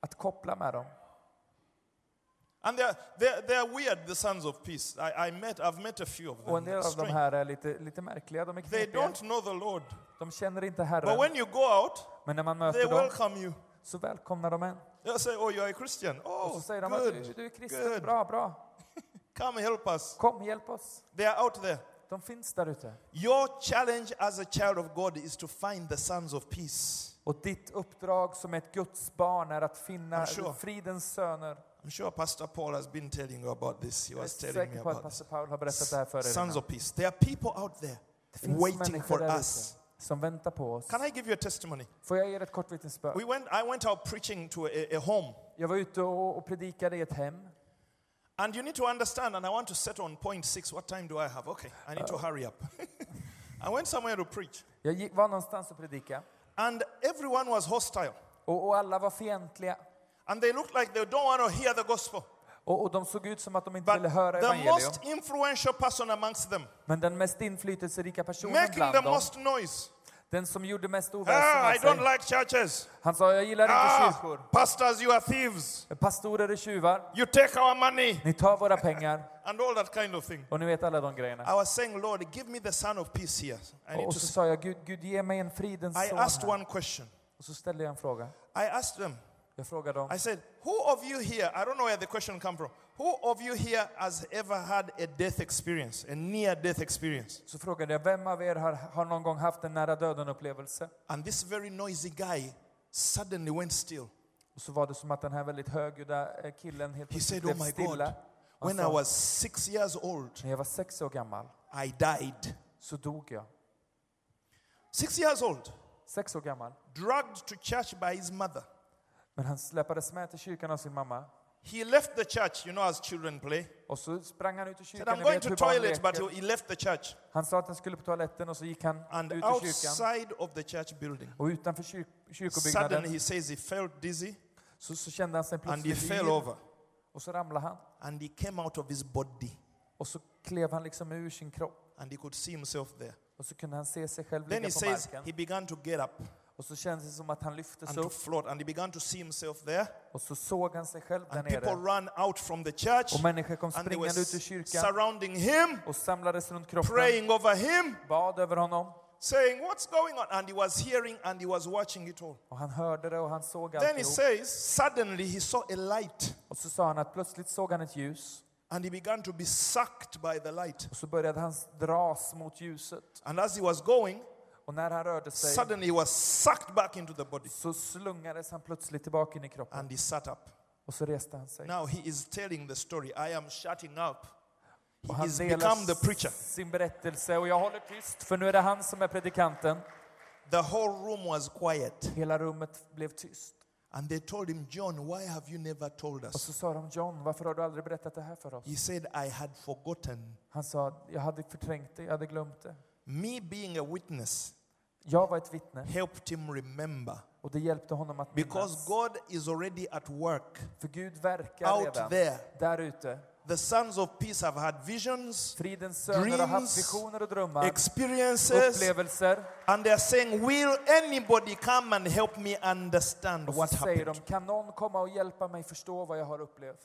Speaker 2: att koppla med dem.
Speaker 1: And they're, they're, they're weird, the sons of peace. I, I met, I've met a few of
Speaker 2: Och en
Speaker 1: them.
Speaker 2: del
Speaker 1: It's
Speaker 2: av de
Speaker 1: strange.
Speaker 2: här är lite, lite märkliga, de är
Speaker 1: They
Speaker 2: knepiga.
Speaker 1: don't know the Lord.
Speaker 2: De känner inte
Speaker 1: But
Speaker 2: Herren,
Speaker 1: when you go out,
Speaker 2: men när man
Speaker 1: they
Speaker 2: möter dem
Speaker 1: welcome you.
Speaker 2: så välkomnar de en.
Speaker 1: They'll say, Oh, you're a Christian.
Speaker 2: Och
Speaker 1: Oh,
Speaker 2: så säger de att du,
Speaker 1: good.
Speaker 2: du är kristen,
Speaker 1: good.
Speaker 2: bra, bra.
Speaker 1: Come help us.
Speaker 2: Kom, hjälp oss.
Speaker 1: They are out there.
Speaker 2: De finns där ute.
Speaker 1: Your challenge as a child of God is to find the sons of peace.
Speaker 2: Och ditt uppdrag som ett Guds barn är att finna
Speaker 1: I'm sure.
Speaker 2: fridens söner.
Speaker 1: I'm sure Pastor Paul has been telling you about this. He
Speaker 2: Jag är
Speaker 1: was telling me
Speaker 2: säker på att
Speaker 1: about this.
Speaker 2: pastor Paul har berättat det här för er
Speaker 1: Sons
Speaker 2: innan.
Speaker 1: of peace. There are people out there
Speaker 2: Det finns
Speaker 1: waiting for
Speaker 2: människor där
Speaker 1: us.
Speaker 2: ute som väntar på oss.
Speaker 1: Can I give you a testimony?
Speaker 2: Får jag ge er ett kort vittnesbörd?
Speaker 1: We went, I went out preaching to a, a home.
Speaker 2: Jag var ute och, och predikade i ett hem.
Speaker 1: And you need to understand, and I want to set on point six. What time do I have? Okay, I need to hurry up. I went somewhere to preach,
Speaker 2: Jag gick, var någonstans och predikade.
Speaker 1: and everyone was hostile.
Speaker 2: Och, och alla var fientliga.
Speaker 1: And they looked like they don't want to hear the gospel.
Speaker 2: Och, och de såg ut som att de inte
Speaker 1: But
Speaker 2: ville höra
Speaker 1: the
Speaker 2: evangelium.
Speaker 1: most influential person amongst them,
Speaker 2: Men den mest inflytelserika personen
Speaker 1: making
Speaker 2: bland
Speaker 1: the
Speaker 2: dem,
Speaker 1: most noise.
Speaker 2: den som gjorde mest
Speaker 1: Ah, I
Speaker 2: oväsen
Speaker 1: don't
Speaker 2: av sig,
Speaker 1: like churches.
Speaker 2: han sa jag gillar inte
Speaker 1: Ah,
Speaker 2: kyrkor.
Speaker 1: pastors, you are thieves.
Speaker 2: Pastorer är tjuvar.
Speaker 1: You take our money.
Speaker 2: Ni tar våra pengar.
Speaker 1: And all that kind of thing.
Speaker 2: Och ni vet alla de grejerna.
Speaker 1: I was saying, Lord, give me the son of peace here. Ah, I need
Speaker 2: Och
Speaker 1: to.
Speaker 2: så
Speaker 1: s-
Speaker 2: sa jag, Gud, Gud ge mig en fridens
Speaker 1: I
Speaker 2: son.
Speaker 1: asked
Speaker 2: här."
Speaker 1: one question.
Speaker 2: Och så ställde jag en fråga.
Speaker 1: I asked them,
Speaker 2: Jag frågade dem,
Speaker 1: I said, who of you here, I don't know where the question come from, Who of you here has ever had a death experience, a near death experience?
Speaker 2: Så frågade jag, vem av er har, har någon gång haft en nära döden-upplevelse?
Speaker 1: And this very noisy guy suddenly went still.
Speaker 2: Och så var det som att den här väldigt högljudda eh, killen helt
Speaker 1: He
Speaker 2: plötsligt
Speaker 1: said, Oh
Speaker 2: blev
Speaker 1: my
Speaker 2: stilla.
Speaker 1: God,
Speaker 2: Han
Speaker 1: when I
Speaker 2: sa,
Speaker 1: was six years old,
Speaker 2: när jag var sex år gammal
Speaker 1: I died.
Speaker 2: så dog jag.
Speaker 1: Six years old,
Speaker 2: Sex år gammal.
Speaker 1: dragged to church by his mother.
Speaker 2: Men han släpades med till kyrkan av sin mamma.
Speaker 1: He left the church, you know, as children play.
Speaker 2: Och så sprang han ut ur
Speaker 1: Said,
Speaker 2: kyrkan.
Speaker 1: I'm
Speaker 2: ni
Speaker 1: going
Speaker 2: vet
Speaker 1: to
Speaker 2: hur barn
Speaker 1: toilet, but
Speaker 2: leker.
Speaker 1: he left the church.
Speaker 2: Han sa att han skulle på toaletten och så gick han
Speaker 1: And
Speaker 2: ut ur kyrkan.
Speaker 1: outside of the church building,
Speaker 2: Och utanför kyr kyrkobyggnaden
Speaker 1: suddenly he says he felt dizzy
Speaker 2: så, så kände han sig
Speaker 1: and he
Speaker 2: plötsligt
Speaker 1: fell
Speaker 2: yr.
Speaker 1: over.
Speaker 2: Och så ramlade han.
Speaker 1: And he came out of his body
Speaker 2: Och så klev han liksom ur sin kropp.
Speaker 1: and he could see himself there.
Speaker 2: Och så kunde han se sig själv
Speaker 1: Then
Speaker 2: ligga
Speaker 1: he
Speaker 2: på
Speaker 1: says
Speaker 2: marken.
Speaker 1: he began to get up
Speaker 2: Och så kändes det som att han lyftes
Speaker 1: and to
Speaker 2: upp.
Speaker 1: float and he began to see himself there.
Speaker 2: Och så såg han sig själv där
Speaker 1: And people
Speaker 2: nere.
Speaker 1: ran out from the church
Speaker 2: Och människor kom
Speaker 1: and they were
Speaker 2: springande ut ur kyrkan
Speaker 1: surrounding him,
Speaker 2: och samlades runt kroppen.
Speaker 1: praying over him,
Speaker 2: Bad över honom.
Speaker 1: saying, What's going on? And he was hearing and he was watching it all.
Speaker 2: Och han hörde det och han såg
Speaker 1: Then he
Speaker 2: alltihop.
Speaker 1: says, Suddenly he saw a light
Speaker 2: Och så sa han att plötsligt såg han ett ljus.
Speaker 1: and he began to be sucked by the light.
Speaker 2: Och så började han dras mot ljuset.
Speaker 1: And as he was going,
Speaker 2: Och när han rörde sig
Speaker 1: suddenly he was sucked back into the body
Speaker 2: så slungades han plötsligt tillbaka in i kroppen.
Speaker 1: and he sat up.
Speaker 2: Och så reste han sig.
Speaker 1: Now he is telling the story. I am shutting up. He
Speaker 2: Och han
Speaker 1: has become the
Speaker 2: delar
Speaker 1: preacher.
Speaker 2: sin berättelse och jag håller tyst för nu är det han som är predikanten.
Speaker 1: The whole room was quiet.
Speaker 2: Hela rummet blev tyst.
Speaker 1: And they told him, John, why have you never told
Speaker 2: Och
Speaker 1: us?
Speaker 2: så sa de John, varför har du aldrig berättat det här för oss?
Speaker 1: He said, I had forgotten.
Speaker 2: Han sa, jag hade förträngt det, jag hade glömt det.
Speaker 1: Me being a witness
Speaker 2: Jag var ett vittne
Speaker 1: helped him remember
Speaker 2: och det hjälpte honom att
Speaker 1: because
Speaker 2: minnas.
Speaker 1: God is already at work
Speaker 2: För Gud verkar
Speaker 1: out
Speaker 2: redan
Speaker 1: there.
Speaker 2: där ute.
Speaker 1: The sons of peace have had visions,
Speaker 2: Fridens söner har haft
Speaker 1: Dreams,
Speaker 2: visioner och drömmar,
Speaker 1: experiences,
Speaker 2: upplevelser.
Speaker 1: and they're saying, Will anybody come and help me understand
Speaker 2: Och så
Speaker 1: what
Speaker 2: säger de,
Speaker 1: happened?
Speaker 2: kan någon komma och hjälpa mig förstå vad jag har upplevt?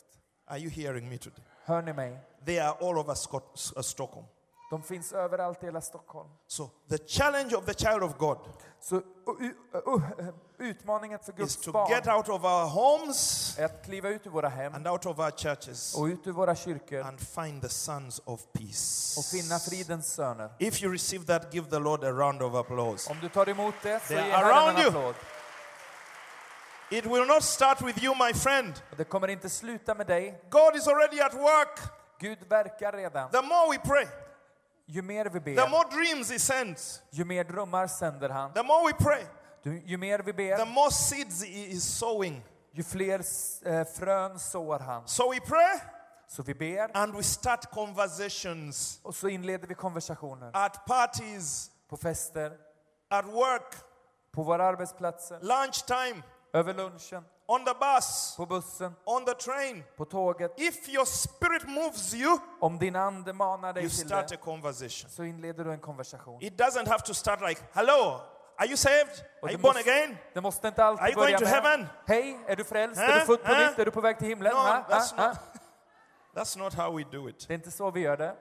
Speaker 1: Are you hearing me today?
Speaker 2: Hör ni mig?
Speaker 1: They are all over Scot- S- uh, Stockholm.
Speaker 2: De finns överallt i hela Stockholm.
Speaker 1: So the challenge of the child of God
Speaker 2: Så u- u- u- utmaningen för
Speaker 1: is
Speaker 2: Guds
Speaker 1: to get
Speaker 2: barn
Speaker 1: out of our homes
Speaker 2: är att kliva ut ur våra hem
Speaker 1: and out of our churches
Speaker 2: och ut ur våra kyrkor
Speaker 1: and find the sons of
Speaker 2: och finna
Speaker 1: peace.
Speaker 2: fridens söner.
Speaker 1: If you receive that, give the Lord a round of applause.
Speaker 2: Om du tar emot det så
Speaker 1: They are
Speaker 2: ge Herren
Speaker 1: around
Speaker 2: en
Speaker 1: you.
Speaker 2: applåd.
Speaker 1: It will not start with you, my friend.
Speaker 2: Och Det kommer inte sluta med dig.
Speaker 1: God is already at work.
Speaker 2: Gud verkar redan.
Speaker 1: The more we pray,
Speaker 2: Ju mer vi
Speaker 1: the
Speaker 2: ber,
Speaker 1: more dreams He sends.
Speaker 2: ju mer drömmar sänder han.
Speaker 1: The more we pray,
Speaker 2: Du, ju mer vi
Speaker 1: the
Speaker 2: ber,
Speaker 1: more seeds He is sowing.
Speaker 2: ju fler s- eh, frön sår han.
Speaker 1: So we pray
Speaker 2: Så vi ber
Speaker 1: and we start conversations
Speaker 2: och så inleder vi konversationer.
Speaker 1: at parties,
Speaker 2: På fester,
Speaker 1: at work,
Speaker 2: på våra arbetsplatser,
Speaker 1: lunchtime,
Speaker 2: över lunchen,
Speaker 1: on the bus,
Speaker 2: på bussen,
Speaker 1: on the train.
Speaker 2: på tåget.
Speaker 1: If your spirit moves you,
Speaker 2: Om din ande manar dig
Speaker 1: you
Speaker 2: till
Speaker 1: start
Speaker 2: det,
Speaker 1: a conversation.
Speaker 2: så inleder du en konversation.
Speaker 1: It doesn't have to start like, hello, are you saved?
Speaker 2: Och
Speaker 1: Are you
Speaker 2: det,
Speaker 1: born
Speaker 2: måste,
Speaker 1: again?
Speaker 2: det måste inte
Speaker 1: Are you
Speaker 2: alltid
Speaker 1: going
Speaker 2: börja
Speaker 1: to heaven?
Speaker 2: med Hej, är du frälst? Är
Speaker 1: Huh?
Speaker 2: du född på
Speaker 1: Huh?
Speaker 2: nytt? Är du på väg till himlen?
Speaker 1: No,
Speaker 2: Ha? Ha?
Speaker 1: that's
Speaker 2: Ha?
Speaker 1: not- That's not how we do it.
Speaker 2: Det är inte så vi gör det.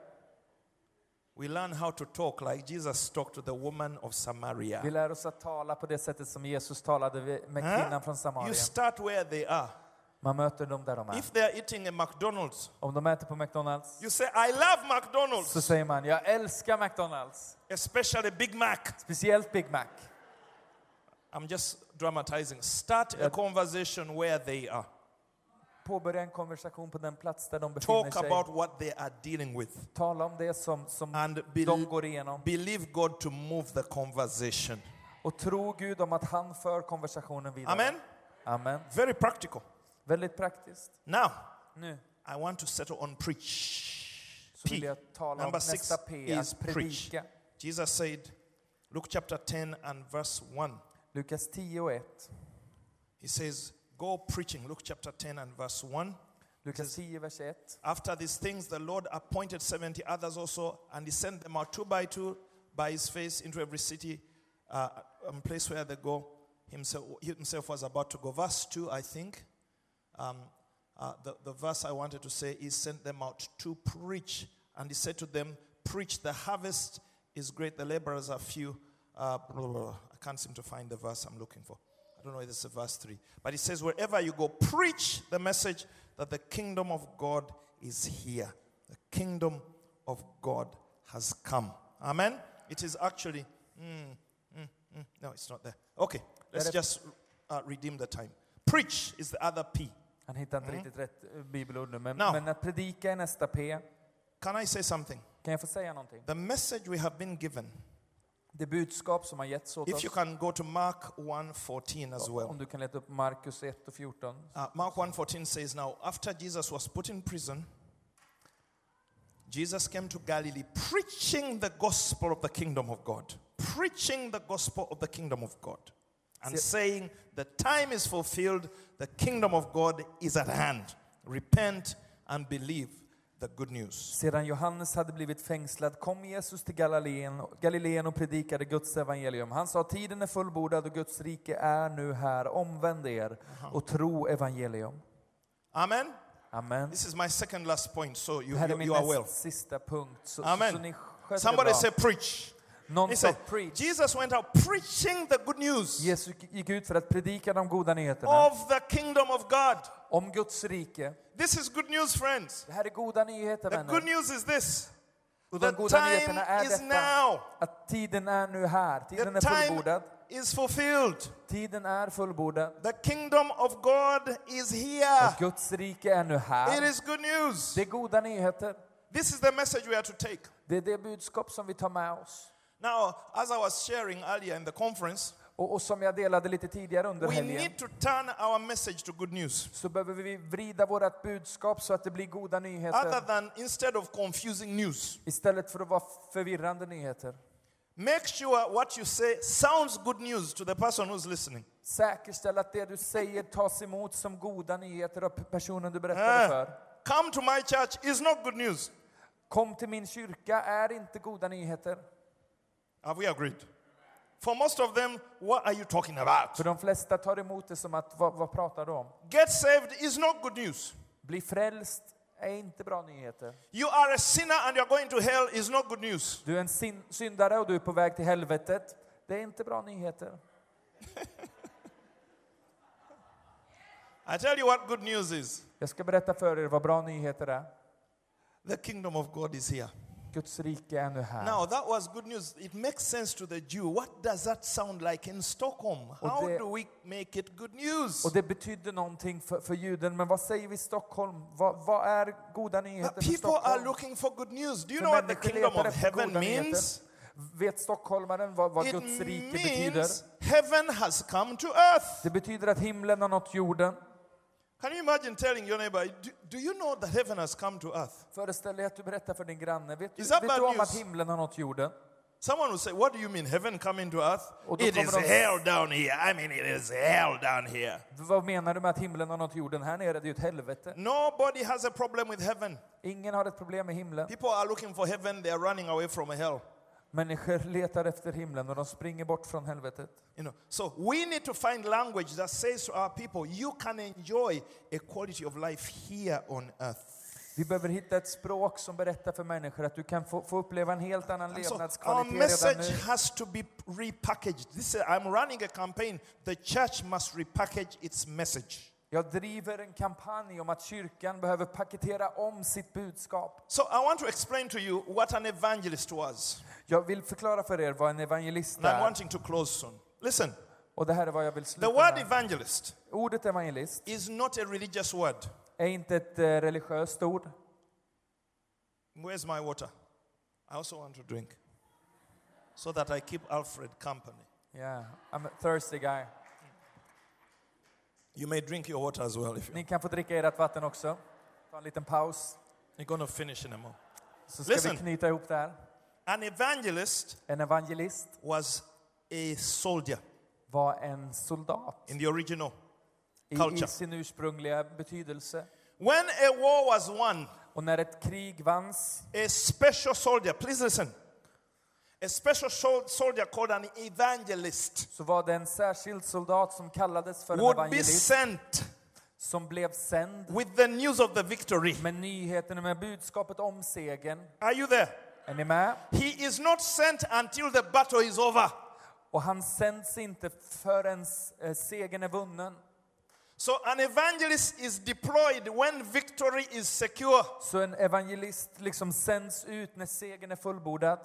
Speaker 1: We learn how to talk like Jesus talked to the woman of
Speaker 2: Vi
Speaker 1: Samaria.
Speaker 2: lär oss att tala på det sättet som Jesus talade vid- med
Speaker 1: Huh?
Speaker 2: kvinnan från
Speaker 1: You
Speaker 2: Samarien.
Speaker 1: start where they are.
Speaker 2: Man möter dem där de är.
Speaker 1: If they are eating a McDonald's,
Speaker 2: Om de äter på McDonalds
Speaker 1: you say, I love McDonald's,
Speaker 2: så säger man, jag älskar McDonalds.
Speaker 1: especially Big Mac.
Speaker 2: Speciellt Big Mac.
Speaker 1: I'm just dramatizing. Start a conversation where they are.
Speaker 2: Påbörja en konversation på den plats där de befinner
Speaker 1: Talk
Speaker 2: sig.
Speaker 1: about what they are dealing with
Speaker 2: Tala om det som, som
Speaker 1: and
Speaker 2: de
Speaker 1: bel-
Speaker 2: går igenom.
Speaker 1: believe God to move the conversation.
Speaker 2: Och tro Gud om att han för konversationen vidare.
Speaker 1: Amen?
Speaker 2: Amen.
Speaker 1: Very practical.
Speaker 2: Väldigt praktiskt.
Speaker 1: Now,
Speaker 2: Nu
Speaker 1: I want to settle on preach.
Speaker 2: så
Speaker 1: P.
Speaker 2: vill jag tala om
Speaker 1: Number six
Speaker 2: nästa P,
Speaker 1: is
Speaker 2: att
Speaker 1: preach.
Speaker 2: predika.
Speaker 1: Jesus said, Luke chapter 10 and verse 1.
Speaker 2: Lukas 10 och 1.
Speaker 1: He says, Go preaching. Luke chapter 10 and verse 1.
Speaker 2: Lukas 10, vers 1.
Speaker 1: After these things, the Lord appointed 70 others also, and he sent them out two by two by his face into every city uh, and place where they go. Himself, he himself was about to go. Verse 2, I think. Um, uh, the, the verse I wanted to say is sent them out to preach. And he said to them, Preach, the harvest is great, the laborers are few. Uh, blah, blah, blah. I can't seem to find the verse I'm looking for. I don't know if it's verse 3. But he says, Wherever you go, preach the message that the kingdom of God is here. The kingdom of God has come. Amen? It is actually. mm, mm, mm, no, it's not there. Okay, let's
Speaker 2: Let it-
Speaker 1: just uh, redeem the time. Preach is the other P.
Speaker 2: Han hittar
Speaker 1: Mm.
Speaker 2: inte riktigt rätt eh, bibelord nu, men,
Speaker 1: Now.
Speaker 2: men att predika är nästa P.
Speaker 1: Can I say something?
Speaker 2: Kan jag få säga någonting?
Speaker 1: The message we have been given.
Speaker 2: Det budskap som har getts åt
Speaker 1: If
Speaker 2: oss,
Speaker 1: you can go to Mark 1:14 as well.
Speaker 2: om du kan leta upp Markus 1 och 14.
Speaker 1: Uh, Mark 1:14 says now after Jesus was put in prison Jesus came to Galilee preaching the gospel of the kingdom of God preaching the gospel of the kingdom of God and saying the time is fulfilled the kingdom of God is at hand repent and believe the good news
Speaker 2: Sedan Johannes hade blivit fängslad kom Jesus till Galileen, Galileen och predikade Guds evangelium. Han sa tiden är fullbordad och Guds rike är nu här. Omvänd er och tro evangelium.
Speaker 1: amen
Speaker 2: Amen.
Speaker 1: this is my second last point so you
Speaker 2: Det här är
Speaker 1: you,
Speaker 2: min
Speaker 1: you are
Speaker 2: näst
Speaker 1: well
Speaker 2: sista punkt. Så, så, så
Speaker 1: amen
Speaker 2: ni sköter
Speaker 1: somebody
Speaker 2: det
Speaker 1: say
Speaker 2: bra.
Speaker 1: preach
Speaker 2: Någon
Speaker 1: He
Speaker 2: sa
Speaker 1: said,
Speaker 2: preach.
Speaker 1: Jesus went out preaching the good news
Speaker 2: Jesus gick ut för att predika de goda nyheterna
Speaker 1: of the kingdom of God.
Speaker 2: om Guds rike.
Speaker 1: This is good news, friends.
Speaker 2: Det här är goda nyheter
Speaker 1: The good
Speaker 2: vänner.
Speaker 1: news is this
Speaker 2: Och
Speaker 1: the
Speaker 2: de goda nyheterna
Speaker 1: time
Speaker 2: är
Speaker 1: is
Speaker 2: detta.
Speaker 1: now.
Speaker 2: Att tiden är nu här.
Speaker 1: The
Speaker 2: Tiden är
Speaker 1: time
Speaker 2: fullbordad.
Speaker 1: is fulfilled.
Speaker 2: Tiden är fullbordad.
Speaker 1: The kingdom of God is here.
Speaker 2: Och Guds rike är nu
Speaker 1: Ah. It
Speaker 2: här.
Speaker 1: is good news.
Speaker 2: Det är goda nyheter.
Speaker 1: This is the message we are to take.
Speaker 2: Det är det budskap som vi tar med oss.
Speaker 1: Now, as I was sharing earlier in the conference,
Speaker 2: Och, och som jag delade lite tidigare under
Speaker 1: we
Speaker 2: helgen
Speaker 1: need to turn our message to good news.
Speaker 2: så behöver vi vrida vårt budskap så att det blir goda nyheter
Speaker 1: Other than instead of confusing news,
Speaker 2: istället för att vara förvirrande nyheter.
Speaker 1: make sure what you say sounds good news to the person who's listening.
Speaker 2: Säkerställ att det du säger tas emot som goda nyheter av personen du berättar
Speaker 1: Eh,
Speaker 2: det för.
Speaker 1: Come to my church is not good news.
Speaker 2: Kom till min kyrka är inte goda nyheter.
Speaker 1: Have we agreed? For most of them, what are you talking about?
Speaker 2: För de flesta tar emot det som att, vad, vad pratar du om?
Speaker 1: Get saved is not good news.
Speaker 2: Bli frälst är inte bra nyheter.
Speaker 1: You are a sinner and you're going to hell is not good news.
Speaker 2: Du är en sin- syndare och du är på väg till helvetet. Det är inte bra nyheter.
Speaker 1: I tell you what good news is.
Speaker 2: Jag ska berätta för er vad bra nyheter är.
Speaker 1: The kingdom of God is here.
Speaker 2: Guds rike är nu här.
Speaker 1: Now, that was good news. It makes sense to the Jew. What does that sound like in Stockholm? How
Speaker 2: the-
Speaker 1: do we make it good news?
Speaker 2: Och det betydde någonting för, för juden, men vad säger vi i Stockholm? Vad, vad är goda nyheter
Speaker 1: But
Speaker 2: för
Speaker 1: people are
Speaker 2: Stockholm?
Speaker 1: looking for good news. Do you
Speaker 2: För
Speaker 1: know what the
Speaker 2: människor
Speaker 1: kingdom
Speaker 2: letar
Speaker 1: of
Speaker 2: efter
Speaker 1: heaven
Speaker 2: goda nyheter.
Speaker 1: means?
Speaker 2: Vet stockholmaren vad, vad
Speaker 1: It
Speaker 2: Guds rike betyder?
Speaker 1: means heaven has come to earth.
Speaker 2: Det betyder att himlen har nått jorden.
Speaker 1: Can you imagine telling your neighbor, do, do you know that heaven has come to earth?
Speaker 2: Föreställ dig att du berättar för din granne. Vet du,
Speaker 1: Is that
Speaker 2: vet
Speaker 1: bad
Speaker 2: du om
Speaker 1: news?
Speaker 2: att himlen har nått jorden?
Speaker 1: Someone will say, What do you mean, heaven coming to earth?
Speaker 2: Och då
Speaker 1: It
Speaker 2: kommer
Speaker 1: is
Speaker 2: de-
Speaker 1: hell down here. I mean, it is hell down here.
Speaker 2: Vad menar du med att himlen har nått jorden? Här nere, det är ju ett helvete.
Speaker 1: Nobody has a problem with heaven.
Speaker 2: Ingen har ett problem med himlen.
Speaker 1: People are looking for heaven, they are running away from hell.
Speaker 2: Människor letar efter himlen och de springer bort från helvetet.
Speaker 1: You know, so we need to find language that says to our people, you can enjoy a quality of life here on earth.
Speaker 2: Vi behöver hitta ett språk som berättar för människor att du kan få, få uppleva en helt annan
Speaker 1: And so our
Speaker 2: levnadskvalitet redan
Speaker 1: Alltså, message
Speaker 2: nu.
Speaker 1: has to be repackaged. This is, I'm running a campaign. The church must repackage its message.
Speaker 2: Jag driver en kampanj om att kyrkan behöver paketera om sitt budskap.
Speaker 1: So I want to explain to you what an evangelist was.
Speaker 2: Jag vill förklara för er vad en evangelist
Speaker 1: And I'm
Speaker 2: är.
Speaker 1: wanting to close soon. Listen,
Speaker 2: Och det här är vad jag vill
Speaker 1: the
Speaker 2: sluta
Speaker 1: word
Speaker 2: med.
Speaker 1: evangelist
Speaker 2: Ordet evangelist
Speaker 1: is not a religious word.
Speaker 2: är inte ett eh, religiöst ord.
Speaker 1: Where's my water? I also want to drink. So that I keep Alfred company.
Speaker 2: Yeah, I'm a thirsty guy.
Speaker 1: You may drink your water as well if you
Speaker 2: Ni kan få dricka ert vatten också. Ta en liten paus,
Speaker 1: You're going to finish in a moment.
Speaker 2: så ska
Speaker 1: Listen.
Speaker 2: vi knyta ihop det här.
Speaker 1: An evangelist
Speaker 2: En evangelist
Speaker 1: was a soldier
Speaker 2: var en soldat
Speaker 1: in the original.
Speaker 2: i,
Speaker 1: Culture.
Speaker 2: i sin ursprungliga betydelse.
Speaker 1: When a war was won,
Speaker 2: Och när ett krig vanns,
Speaker 1: a special soldier, please listen, a special sol- soldier called an evangelist.
Speaker 2: så var det en särskild soldat som kallades för en
Speaker 1: would be
Speaker 2: evangelist,
Speaker 1: sent
Speaker 2: som blev sänd
Speaker 1: with the news of the victory.
Speaker 2: med nyheterna, med budskapet om segern.
Speaker 1: Are you there?
Speaker 2: Är ni med?
Speaker 1: He is not sent until the battle is over.
Speaker 2: Och han sänds inte förrän eh, segern är vunnen.
Speaker 1: So an evangelist is deployed when victory is secure.
Speaker 2: Så en evangelist liksom sänds ut när segern är fullbordad.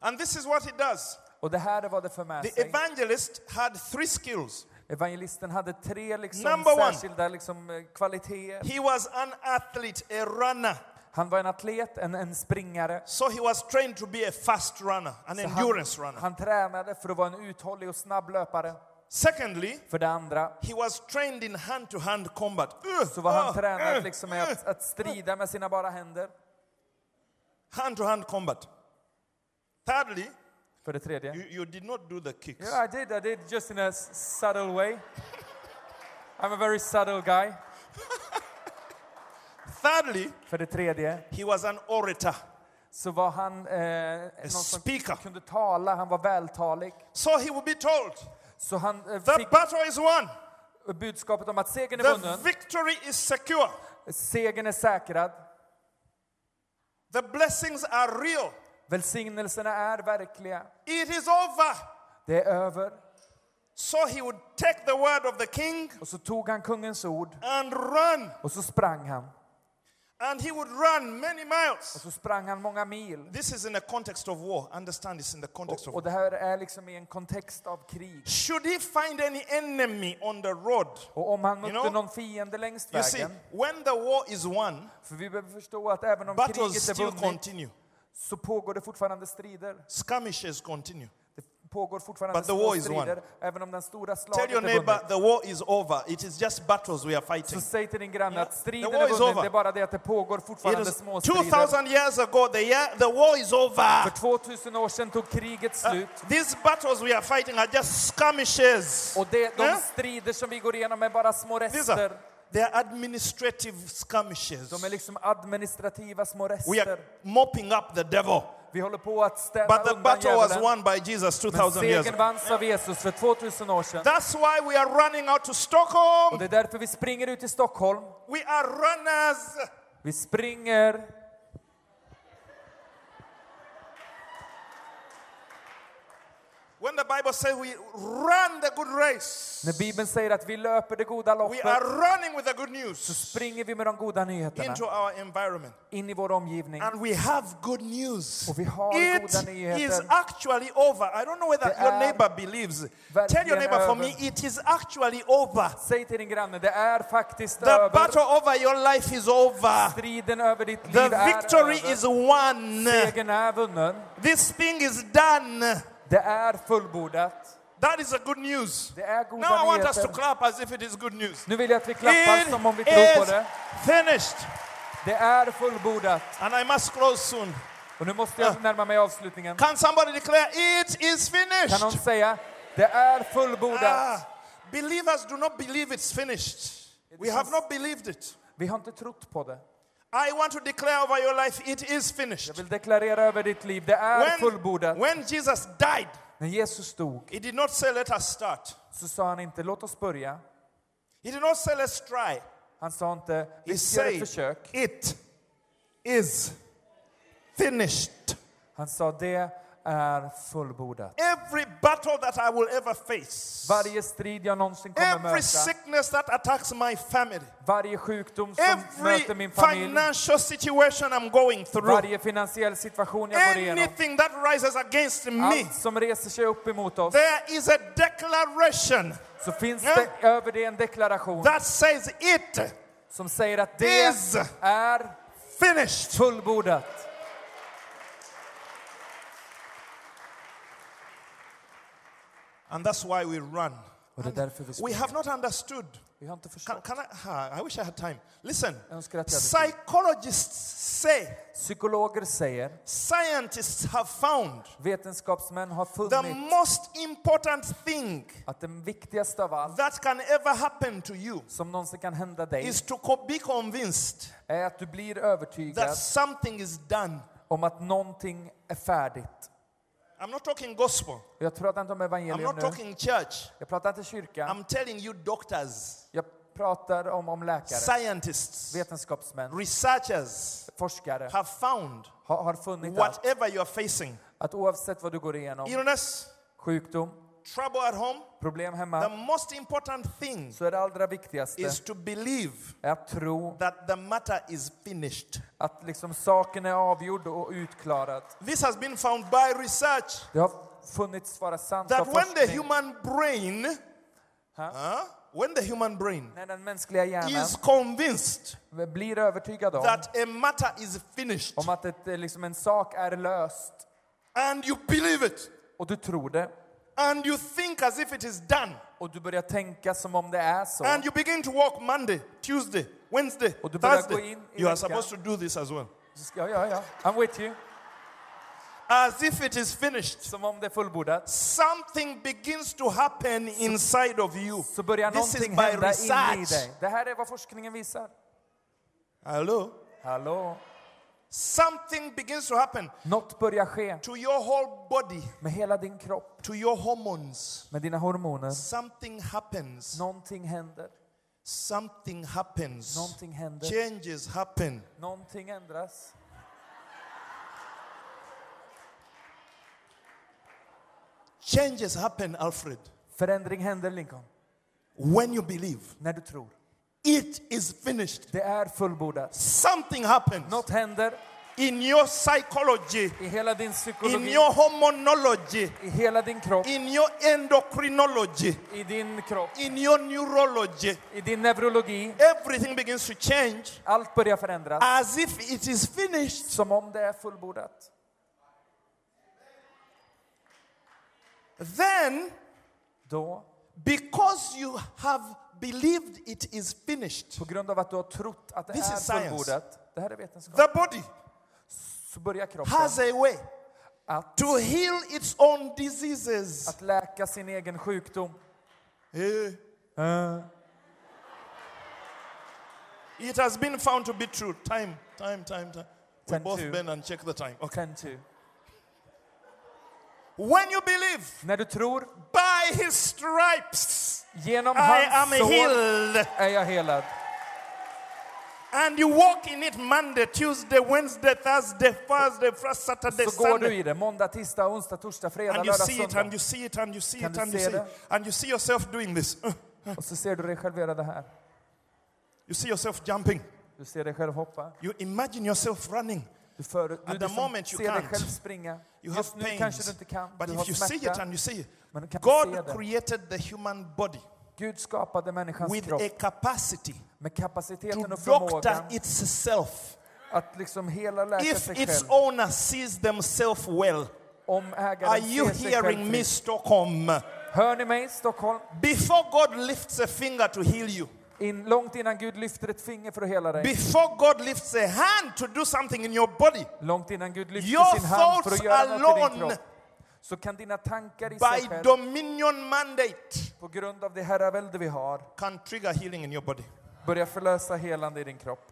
Speaker 1: And this is what he does.
Speaker 2: Och det här är vad det för med
Speaker 1: The
Speaker 2: sig.
Speaker 1: evangelist had three skills.
Speaker 2: Evangelisten hade tre liksom
Speaker 1: Number one.
Speaker 2: särskilda liksom eh, kvaliteter.
Speaker 1: He was an athlete, a runner.
Speaker 2: Han var en atlet, en, en springare.
Speaker 1: So he was trained to be a fast runner, an
Speaker 2: Så
Speaker 1: endurance
Speaker 2: han,
Speaker 1: runner.
Speaker 2: han tränade för att vara en uthållig och snabb löpare.
Speaker 1: Secondly,
Speaker 2: För det andra
Speaker 1: he was trained in hand to hand combat.
Speaker 2: Mm,
Speaker 1: mm,
Speaker 2: så var
Speaker 1: Ah,
Speaker 2: han tränad liksom i att, att strida med sina bara händer.
Speaker 1: Hand to hand combat. Thirdly,
Speaker 2: För det tredje.
Speaker 1: you, you did not do the kicks.
Speaker 2: Yeah, I did. I did just in a s- subtle way. I'm a very subtle guy.
Speaker 1: Thirdly,
Speaker 2: För det tredje
Speaker 1: he was an orator.
Speaker 2: så var han eh, någon som
Speaker 1: speaker.
Speaker 2: kunde tala, han var vältalig.
Speaker 1: So he will be told
Speaker 2: Så han eh,
Speaker 1: the
Speaker 2: fick
Speaker 1: battle is won,
Speaker 2: budskapet om att segern är
Speaker 1: the
Speaker 2: vunnen,
Speaker 1: victory is secure,
Speaker 2: segern är säkrad,
Speaker 1: the blessings are real,
Speaker 2: välsignelserna är verkliga,
Speaker 1: it is over.
Speaker 2: det är över.
Speaker 1: So he would take the word of the king
Speaker 2: Och så tog han kungens ord
Speaker 1: and run,
Speaker 2: och så sprang han.
Speaker 1: and he would run many
Speaker 2: Och
Speaker 1: miles.
Speaker 2: så sprang han många mil.
Speaker 1: This is in the context of war. Understand this in the context
Speaker 2: Och,
Speaker 1: of
Speaker 2: och
Speaker 1: war.
Speaker 2: det här är liksom i en kontext av krig.
Speaker 1: Should he find any enemy on the road?
Speaker 2: Och om han mötte
Speaker 1: know,
Speaker 2: någon fiende längs
Speaker 1: You see,
Speaker 2: vägen,
Speaker 1: when the war is won,
Speaker 2: för vi behöver förstå att även om
Speaker 1: battles
Speaker 2: kriget är
Speaker 1: still
Speaker 2: vunnit
Speaker 1: continue,
Speaker 2: så pågår det fortfarande strider.
Speaker 1: skirmishes continue.
Speaker 2: Det pågår fortfarande
Speaker 1: But the war
Speaker 2: små
Speaker 1: is
Speaker 2: strider,
Speaker 1: won.
Speaker 2: även om den stora
Speaker 1: Tell
Speaker 2: slaget
Speaker 1: your
Speaker 2: är
Speaker 1: neighbor
Speaker 2: vunnit.
Speaker 1: the war is over. It is just battles we are fighting.
Speaker 2: Så säg till din granne att
Speaker 1: the
Speaker 2: striden
Speaker 1: war
Speaker 2: är
Speaker 1: is
Speaker 2: vunnen,
Speaker 1: over.
Speaker 2: det är bara det att det pågår
Speaker 1: It
Speaker 2: fortfarande
Speaker 1: is
Speaker 2: små strider.
Speaker 1: 2000 years ago, the, year, the war is over.
Speaker 2: För 2000 år sedan tog kriget slut.
Speaker 1: These battles we are fighting are just skirmishes.
Speaker 2: Och det, de
Speaker 1: Yeah?
Speaker 2: strider som vi går igenom är bara små
Speaker 1: These are,
Speaker 2: rester.
Speaker 1: they are administrative skirmishes.
Speaker 2: De är liksom administrativa små
Speaker 1: We are
Speaker 2: rester.
Speaker 1: mopping up the devil.
Speaker 2: Vi håller på att städa
Speaker 1: But the
Speaker 2: undan
Speaker 1: battle was won
Speaker 2: djävulen.
Speaker 1: by Jesus
Speaker 2: Men
Speaker 1: 2000 years
Speaker 2: segern
Speaker 1: ago.
Speaker 2: vanns av Jesus för 2000 år sedan.
Speaker 1: That's why we are running out to
Speaker 2: Och
Speaker 1: Stockholm.
Speaker 2: det är därför vi springer ut till Stockholm.
Speaker 1: We are runners.
Speaker 2: Vi springer.
Speaker 1: When the Bible says we run the good race,
Speaker 2: När Bibeln säger att vi löper det goda
Speaker 1: we
Speaker 2: loppet
Speaker 1: are running with the good news
Speaker 2: springer vi med de goda nyheterna
Speaker 1: into our environment.
Speaker 2: in i vår omgivning.
Speaker 1: And we have good news.
Speaker 2: Och vi har
Speaker 1: It
Speaker 2: goda nyheter.
Speaker 1: is actually over. I don't know whether
Speaker 2: Det
Speaker 1: your
Speaker 2: är
Speaker 1: neighbor believes. Tell your
Speaker 2: verkligen
Speaker 1: neighbor for
Speaker 2: över.
Speaker 1: me, it is actually over.
Speaker 2: Säg till din granne, det är faktiskt
Speaker 1: The
Speaker 2: över.
Speaker 1: battle over your life is over.
Speaker 2: Striden över ditt liv
Speaker 1: The
Speaker 2: är
Speaker 1: victory
Speaker 2: över.
Speaker 1: is won.
Speaker 2: Segern är vunnen.
Speaker 1: This thing is done.
Speaker 2: Det är fullbordat.
Speaker 1: That is the good news.
Speaker 2: Det är goda
Speaker 1: Now I want us to
Speaker 2: nyheter.
Speaker 1: clap as if it is good news.
Speaker 2: Nu vill jag att vi klappar som om vi
Speaker 1: It
Speaker 2: tror
Speaker 1: is
Speaker 2: på det.
Speaker 1: finished.
Speaker 2: Det är fullbordat.
Speaker 1: And I must close soon.
Speaker 2: Och nu måste
Speaker 1: Uh.
Speaker 2: jag närma mig avslutningen.
Speaker 1: Can somebody declare, it is
Speaker 2: Kan någon
Speaker 1: finished?
Speaker 2: säga, det är fullbordat.
Speaker 1: Ah, believers do not believe it's finished. We have not believed it.
Speaker 2: Vi har inte trott på det.
Speaker 1: I want to declare over your life, it is finished.
Speaker 2: Jag vill deklarera över ditt liv, det är fullbordat.
Speaker 1: when Jesus died,
Speaker 2: När Jesus dog
Speaker 1: he did not say, let us start.
Speaker 2: så sa han inte, låt oss börja.
Speaker 1: He did not say, let's try.
Speaker 2: Han sa inte,
Speaker 1: He
Speaker 2: vi ska göra ett
Speaker 1: said,
Speaker 2: försök.
Speaker 1: it is finished.
Speaker 2: Han sa, det är fullbordat.
Speaker 1: Every battle that I will ever face,
Speaker 2: Varje strid jag någonsin kommer
Speaker 1: every
Speaker 2: möta,
Speaker 1: sickness that attacks my family,
Speaker 2: varje sjukdom som
Speaker 1: every
Speaker 2: möter min familj,
Speaker 1: financial situation I'm going through,
Speaker 2: varje finansiell situation jag går igenom,
Speaker 1: anything that rises against me,
Speaker 2: allt som reser sig upp emot oss,
Speaker 1: there is a declaration
Speaker 2: så finns
Speaker 1: Yeah.
Speaker 2: det över det en deklaration
Speaker 1: that says it
Speaker 2: som säger att det
Speaker 1: Is.
Speaker 2: är
Speaker 1: finished.
Speaker 2: fullbordat.
Speaker 1: And that's why we run.
Speaker 2: Och det är därför vi
Speaker 1: We
Speaker 2: springer.
Speaker 1: have not understood.
Speaker 2: Vi har inte
Speaker 1: Can,
Speaker 2: förstått.
Speaker 1: can I, ah, I wish I had time. Listen,
Speaker 2: Jag önskar att jag hade tid.
Speaker 1: psychologists say,
Speaker 2: Psykologer säger,
Speaker 1: scientists have found
Speaker 2: vetenskapsmän har
Speaker 1: the
Speaker 2: funnit
Speaker 1: most important thing
Speaker 2: att det viktigaste av allt
Speaker 1: that can ever happen to you
Speaker 2: som någonsin kan hända dig
Speaker 1: is to co- be convinced
Speaker 2: är att du blir
Speaker 1: that
Speaker 2: övertygad
Speaker 1: something is done.
Speaker 2: om att någonting är färdigt.
Speaker 1: I'm not talking gospel.
Speaker 2: Och Jag pratar inte om
Speaker 1: I'm
Speaker 2: evangelium
Speaker 1: not
Speaker 2: nu.
Speaker 1: talking church.
Speaker 2: Jag pratar inte kyrkan.
Speaker 1: I'm telling you, doctors,
Speaker 2: Jag pratar om, om läkare,
Speaker 1: scientists,
Speaker 2: vetenskapsmän,
Speaker 1: researchers
Speaker 2: forskare
Speaker 1: have found
Speaker 2: har, har funnit att,
Speaker 1: whatever you are facing
Speaker 2: Oh. att oavsett vad du går igenom,
Speaker 1: illness,
Speaker 2: sjukdom,
Speaker 1: trouble at home,
Speaker 2: problem
Speaker 1: the
Speaker 2: hemma,
Speaker 1: most important thing
Speaker 2: så är det allra viktigaste
Speaker 1: is to believe
Speaker 2: är att tro
Speaker 1: that the matter is finished.
Speaker 2: att liksom saken är avgjord och utklarad.
Speaker 1: This has been found by research
Speaker 2: Det har funnits vara sant av
Speaker 1: that when the
Speaker 2: forskning.
Speaker 1: human brain,
Speaker 2: Huh?
Speaker 1: huh? when the human brain
Speaker 2: När den mänskliga hjärnan
Speaker 1: is convinced
Speaker 2: blir övertygad om,
Speaker 1: that a matter is finished
Speaker 2: om att ett, eh, liksom en sak är löst
Speaker 1: and you believe it
Speaker 2: och du tror det
Speaker 1: and you think as if it is done
Speaker 2: och du börjar tänka som om det är så.
Speaker 1: and you begin to walk Monday, Tuesday, Wednesday,
Speaker 2: Och du börjar gå
Speaker 1: Thursday,
Speaker 2: in i
Speaker 1: you are
Speaker 2: veckan.
Speaker 1: supposed to do this as well.
Speaker 2: Så ska- Ja, ja, ja. I'm with you.
Speaker 1: As if it is finished.
Speaker 2: Som om det är fullbordat.
Speaker 1: Something begins to happen inside of you.
Speaker 2: Så börjar
Speaker 1: This is
Speaker 2: någonting
Speaker 1: by
Speaker 2: hända in i
Speaker 1: research.
Speaker 2: dig. Det här är vad forskningen visar.
Speaker 1: Hello?
Speaker 2: Hallå?
Speaker 1: Something begins to happen
Speaker 2: Något börjar ske
Speaker 1: to your whole body,
Speaker 2: med hela din kropp,
Speaker 1: to your hormones.
Speaker 2: med dina hormoner.
Speaker 1: Something happens.
Speaker 2: Någonting händer.
Speaker 1: Something happens.
Speaker 2: Någonting händer.
Speaker 1: Changes happen.
Speaker 2: Någonting ändras.
Speaker 1: Changes happen, Alfred,
Speaker 2: Förändring händer, Lincoln.
Speaker 1: when you believe.
Speaker 2: När du tror.
Speaker 1: It is finished.
Speaker 2: Det är fullbordat.
Speaker 1: Something happens
Speaker 2: Något händer
Speaker 1: in your psychology,
Speaker 2: i hela din
Speaker 1: in
Speaker 2: psykologi,
Speaker 1: your hormonology,
Speaker 2: i hela din kropp,
Speaker 1: in your endocrinology,
Speaker 2: i din kropp,
Speaker 1: in your neurology.
Speaker 2: i din neurologi.
Speaker 1: Everything begins to change
Speaker 2: Allt börjar förändras.
Speaker 1: as if it is finished.
Speaker 2: Som om det är fullbordat.
Speaker 1: Then,
Speaker 2: Då,
Speaker 1: because you have believed it is finished,
Speaker 2: på grund av att du har trott att det
Speaker 1: This is
Speaker 2: är
Speaker 1: science.
Speaker 2: fullbordat, det här är vetenskap,
Speaker 1: the body
Speaker 2: så börjar kroppen
Speaker 1: has a way
Speaker 2: att,
Speaker 1: to heal its own diseases.
Speaker 2: att läka sin egen sjukdom.
Speaker 1: Eh. It has been found to be true. Time, time, time, time. We
Speaker 2: Time
Speaker 1: both
Speaker 2: to-
Speaker 1: bend and check the time. Okay.
Speaker 2: Sen tu.
Speaker 1: When you believe,
Speaker 2: När du tror,
Speaker 1: by his stripes,
Speaker 2: genom
Speaker 1: I am
Speaker 2: hans sår
Speaker 1: healed.
Speaker 2: är jag helad.
Speaker 1: And you walk in it Monday, Tuesday, Wednesday, Thursday, Thursday, Friday, Saturday,
Speaker 2: Så går du
Speaker 1: Sunday.
Speaker 2: i det måndag, tisdag, onsdag, torsdag, fredag,
Speaker 1: And you
Speaker 2: lördag,
Speaker 1: see it, and
Speaker 2: söndag.
Speaker 1: you see it, and you see
Speaker 2: Kan
Speaker 1: it,
Speaker 2: du
Speaker 1: and you
Speaker 2: se
Speaker 1: see it.
Speaker 2: det?
Speaker 1: And you see yourself doing this. Uh,
Speaker 2: Och så ser du dig själv göra det här.
Speaker 1: You see yourself jumping.
Speaker 2: Du ser dig själv hoppa.
Speaker 1: You imagine yourself running.
Speaker 2: Du, för, du
Speaker 1: the
Speaker 2: liksom
Speaker 1: moment you
Speaker 2: ser dig
Speaker 1: can't.
Speaker 2: själv springa.
Speaker 1: You
Speaker 2: Just
Speaker 1: have
Speaker 2: nu
Speaker 1: pains.
Speaker 2: kanske du inte kan.
Speaker 1: But
Speaker 2: du
Speaker 1: if
Speaker 2: har
Speaker 1: you see it
Speaker 2: smärta.
Speaker 1: and you see it,
Speaker 2: Men du kan se
Speaker 1: God
Speaker 2: det.
Speaker 1: created the human body
Speaker 2: Gud skapade människans
Speaker 1: with
Speaker 2: kropp
Speaker 1: a capacity
Speaker 2: med
Speaker 1: to
Speaker 2: kapaciteten och
Speaker 1: doctor
Speaker 2: förmågan
Speaker 1: itself
Speaker 2: att liksom hela läka
Speaker 1: if
Speaker 2: sig
Speaker 1: its
Speaker 2: själv.
Speaker 1: owner sees themselves well.
Speaker 2: Om ägaren
Speaker 1: Are you
Speaker 2: ser sig själv
Speaker 1: hearing me,
Speaker 2: fri.
Speaker 1: Stockholm?
Speaker 2: Hör ni mig, Stockholm?
Speaker 1: Before God lifts a finger to heal you,
Speaker 2: In, långt innan Gud lyfter ett finger för att hela dig.
Speaker 1: before God lifts a hand to do something in your body,
Speaker 2: Långt innan Gud lyfter
Speaker 1: Your
Speaker 2: sin hand för
Speaker 1: thoughts
Speaker 2: att göra något i din
Speaker 1: alone
Speaker 2: kropp. Så kan dina tankar i sig
Speaker 1: by
Speaker 2: själv,
Speaker 1: dominion mandate,
Speaker 2: på grund av det herravälde vi har,
Speaker 1: can trigger healing in your body.
Speaker 2: börja förlösa helande i din kropp.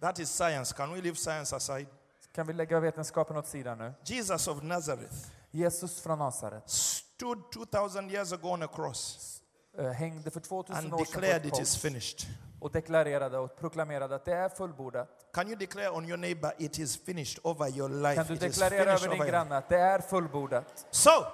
Speaker 1: That is science. Can we leave science aside?
Speaker 2: Kan vi lägga vetenskapen åt sidan nu?
Speaker 1: Jesus of Nazareth
Speaker 2: Jesus från Nasaret
Speaker 1: stood 2,000 years ago on a cross
Speaker 2: eh, hängde för 2000
Speaker 1: and
Speaker 2: år sedan på ett
Speaker 1: declared it is
Speaker 2: kors
Speaker 1: finished.
Speaker 2: och deklarerade och proklamerade att det är fullbordat.
Speaker 1: Can you declare on your neighbor, it is finished over your life?
Speaker 2: Kan du
Speaker 1: It is
Speaker 2: deklarera
Speaker 1: finished
Speaker 2: över
Speaker 1: over
Speaker 2: din
Speaker 1: your
Speaker 2: granne att det är fullbordat?
Speaker 1: So,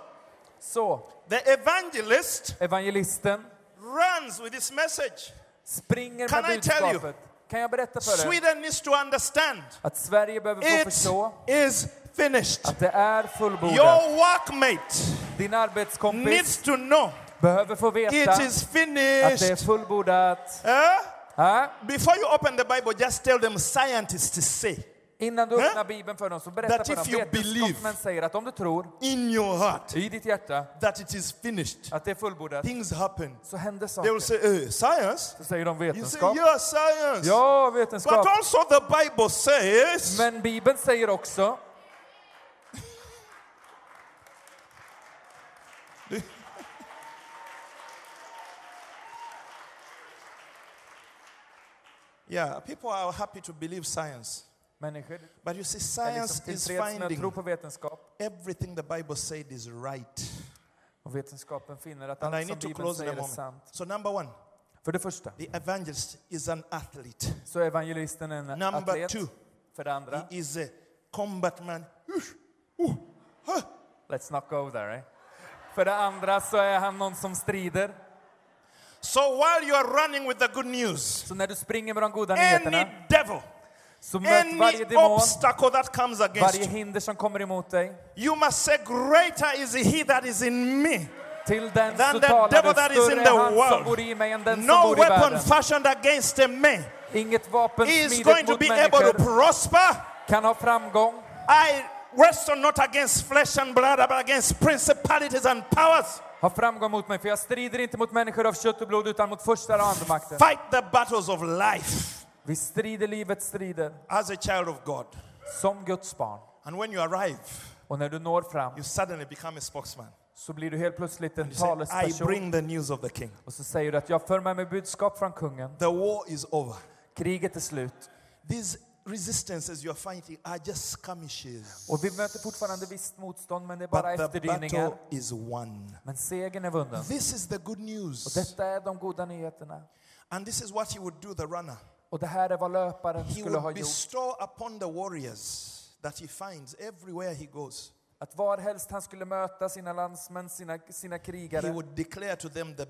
Speaker 2: Så,
Speaker 1: the evangelist
Speaker 2: evangelisten
Speaker 1: runs with this message.
Speaker 2: springer
Speaker 1: Can
Speaker 2: med
Speaker 1: I tell you?
Speaker 2: budskapet. Kan jag berätta för dig
Speaker 1: Sweden needs to understand
Speaker 2: att Sverige behöver få
Speaker 1: it
Speaker 2: förstå
Speaker 1: is finished.
Speaker 2: att det är fullbordat.
Speaker 1: Your workmate
Speaker 2: Din arbetskompis
Speaker 1: needs to know
Speaker 2: behöver få veta
Speaker 1: it
Speaker 2: att
Speaker 1: is
Speaker 2: det är
Speaker 1: finished.
Speaker 2: fullbordat.
Speaker 1: Eh?
Speaker 2: Ja?
Speaker 1: Before you open the Bible, just tell them scientists say
Speaker 2: Innan du
Speaker 1: Huh?
Speaker 2: öppnar Bibeln för dem så berätta
Speaker 1: That
Speaker 2: för
Speaker 1: if
Speaker 2: dem.
Speaker 1: you believe-
Speaker 2: Vetenskapsmän säger att om du tror
Speaker 1: in your heart
Speaker 2: i ditt hjärta
Speaker 1: that it is finished.
Speaker 2: att det är fullbordat
Speaker 1: Things happen.
Speaker 2: så händer
Speaker 1: They will
Speaker 2: saker.
Speaker 1: say, eh, science?
Speaker 2: Så säger de
Speaker 1: You say,
Speaker 2: vetenskap.
Speaker 1: yeah, science.
Speaker 2: Ja,
Speaker 1: But
Speaker 2: vetenskap.
Speaker 1: also the Bible says
Speaker 2: Men Bibeln säger också,
Speaker 1: Yeah, people are happy to believe science.
Speaker 2: människor
Speaker 1: But you see,
Speaker 2: är
Speaker 1: science
Speaker 2: liksom
Speaker 1: is
Speaker 2: tillfreds med att tro
Speaker 1: finding
Speaker 2: på vetenskap.
Speaker 1: everything the Bible said is right.
Speaker 2: Och vetenskapen finner att
Speaker 1: And I
Speaker 2: allt som
Speaker 1: need to
Speaker 2: Bibeln
Speaker 1: close in a
Speaker 2: säger är
Speaker 1: moment.
Speaker 2: sant.
Speaker 1: So, number one,
Speaker 2: För det första
Speaker 1: the evangelist is an athlete,
Speaker 2: så är evangelisten en
Speaker 1: Number
Speaker 2: atlet.
Speaker 1: two.
Speaker 2: För det andra,
Speaker 1: he is a combatman.
Speaker 2: let's not go there. Eh? För det andra så är han någon som strider.
Speaker 1: So while you are running with the good news,
Speaker 2: Så när du springer med de goda
Speaker 1: any
Speaker 2: nyheterna
Speaker 1: devil,
Speaker 2: så möt varje
Speaker 1: any
Speaker 2: demon,
Speaker 1: obstacle that comes against
Speaker 2: varje
Speaker 1: you,
Speaker 2: hinder som kommer emot dig.
Speaker 1: you must say, Greater is he that is in me
Speaker 2: Till den
Speaker 1: than
Speaker 2: så
Speaker 1: the devil
Speaker 2: talar
Speaker 1: that
Speaker 2: du,
Speaker 1: is
Speaker 2: större
Speaker 1: in
Speaker 2: är
Speaker 1: the
Speaker 2: han som bor i mig än
Speaker 1: world.
Speaker 2: den som
Speaker 1: No
Speaker 2: bor i
Speaker 1: weapon
Speaker 2: världen.
Speaker 1: fashioned against a man
Speaker 2: Inget vapen
Speaker 1: is
Speaker 2: smidigt
Speaker 1: going to
Speaker 2: mot
Speaker 1: be able to
Speaker 2: människor
Speaker 1: prosper.
Speaker 2: kan ha framgång.
Speaker 1: I wrestle not against flesh and blood, but against principalities and powers.
Speaker 2: Ha framgång mot mig, för jag strider inte mot människor av kött och blod utan mot första och andemakten.
Speaker 1: Fight the battles of life
Speaker 2: Vi strider livets strider
Speaker 1: as a child of God.
Speaker 2: som Guds barn.
Speaker 1: And when you arrive,
Speaker 2: Och när du når fram
Speaker 1: you suddenly become a spokesman.
Speaker 2: så blir du helt plötsligt en
Speaker 1: You say, I
Speaker 2: talesperson.
Speaker 1: bring the news of the king.
Speaker 2: Och så säger du att jag för med mig budskap från kungen.
Speaker 1: The war is over.
Speaker 2: Kriget är slut.
Speaker 1: These resistances you are fighting are just skirmishes.
Speaker 2: Och vi möter fortfarande visst motstånd, men det är
Speaker 1: But
Speaker 2: bara
Speaker 1: the
Speaker 2: efterdyningar.
Speaker 1: battle is won.
Speaker 2: Men segern är vunnen.
Speaker 1: This is the good
Speaker 2: Och
Speaker 1: news.
Speaker 2: detta är de goda nyheterna.
Speaker 1: And this is what he would do, the runner.
Speaker 2: Och det här är vad löparen
Speaker 1: He
Speaker 2: skulle ha
Speaker 1: would
Speaker 2: gjort.
Speaker 1: bestow upon the warriors that he finds everywhere he goes.
Speaker 2: Att varhelst han skulle möta sina landsmän, sina, sina
Speaker 1: He
Speaker 2: krigare,
Speaker 1: would declare to them the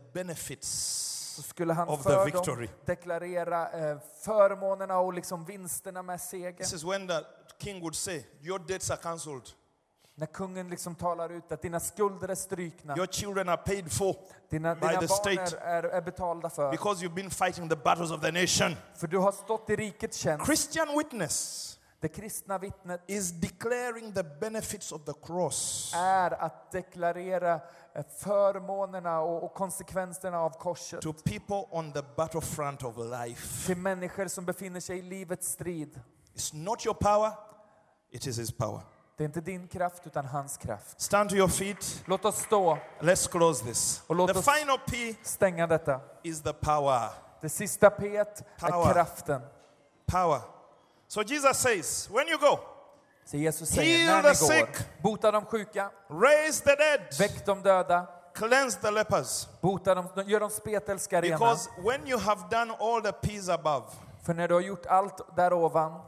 Speaker 2: så
Speaker 1: benefits.
Speaker 2: skulle han
Speaker 1: of the
Speaker 2: för dem
Speaker 1: victory.
Speaker 2: deklarera eh, förmånerna och liksom vinsterna med segern.
Speaker 1: This is when the king would say, Your debts are cancelled,
Speaker 2: När kungen liksom talar ut att dina skulder är strykna,
Speaker 1: your children are paid for
Speaker 2: dina,
Speaker 1: by
Speaker 2: dina
Speaker 1: the
Speaker 2: barn är,
Speaker 1: state.
Speaker 2: är, är betalda för.
Speaker 1: because you've been fighting the battles of the nation.
Speaker 2: För du har stått i rikets tjänst.
Speaker 1: Christian witness
Speaker 2: Det kristna vittnet
Speaker 1: is declaring the benefits of the cross.
Speaker 2: är att deklarera eh, förmånerna och, och konsekvenserna av korset
Speaker 1: to people on the battlefront of life.
Speaker 2: till människor som befinner sig i livets strid.
Speaker 1: It's not your power, it is His power.
Speaker 2: Det är inte din kraft utan hans kraft.
Speaker 1: Stand to your feet.
Speaker 2: Låt oss stå,
Speaker 1: Let's close this.
Speaker 2: Och låt
Speaker 1: The
Speaker 2: oss-
Speaker 1: final P
Speaker 2: stänga detta.
Speaker 1: is the power.
Speaker 2: Det sista P är
Speaker 1: Power.
Speaker 2: kraften.
Speaker 1: Power. So Jesus says, when you go,
Speaker 2: Så Jesus
Speaker 1: Heal
Speaker 2: säger, när
Speaker 1: the
Speaker 2: ni går,
Speaker 1: sick.
Speaker 2: bota de sjuka,
Speaker 1: raise the dead,
Speaker 2: väck de döda,
Speaker 1: cleanse the lepers.
Speaker 2: bota de, gör de spetälska rena.
Speaker 1: Because when you have done all the P's above,
Speaker 2: För när du har gjort allt där ovan,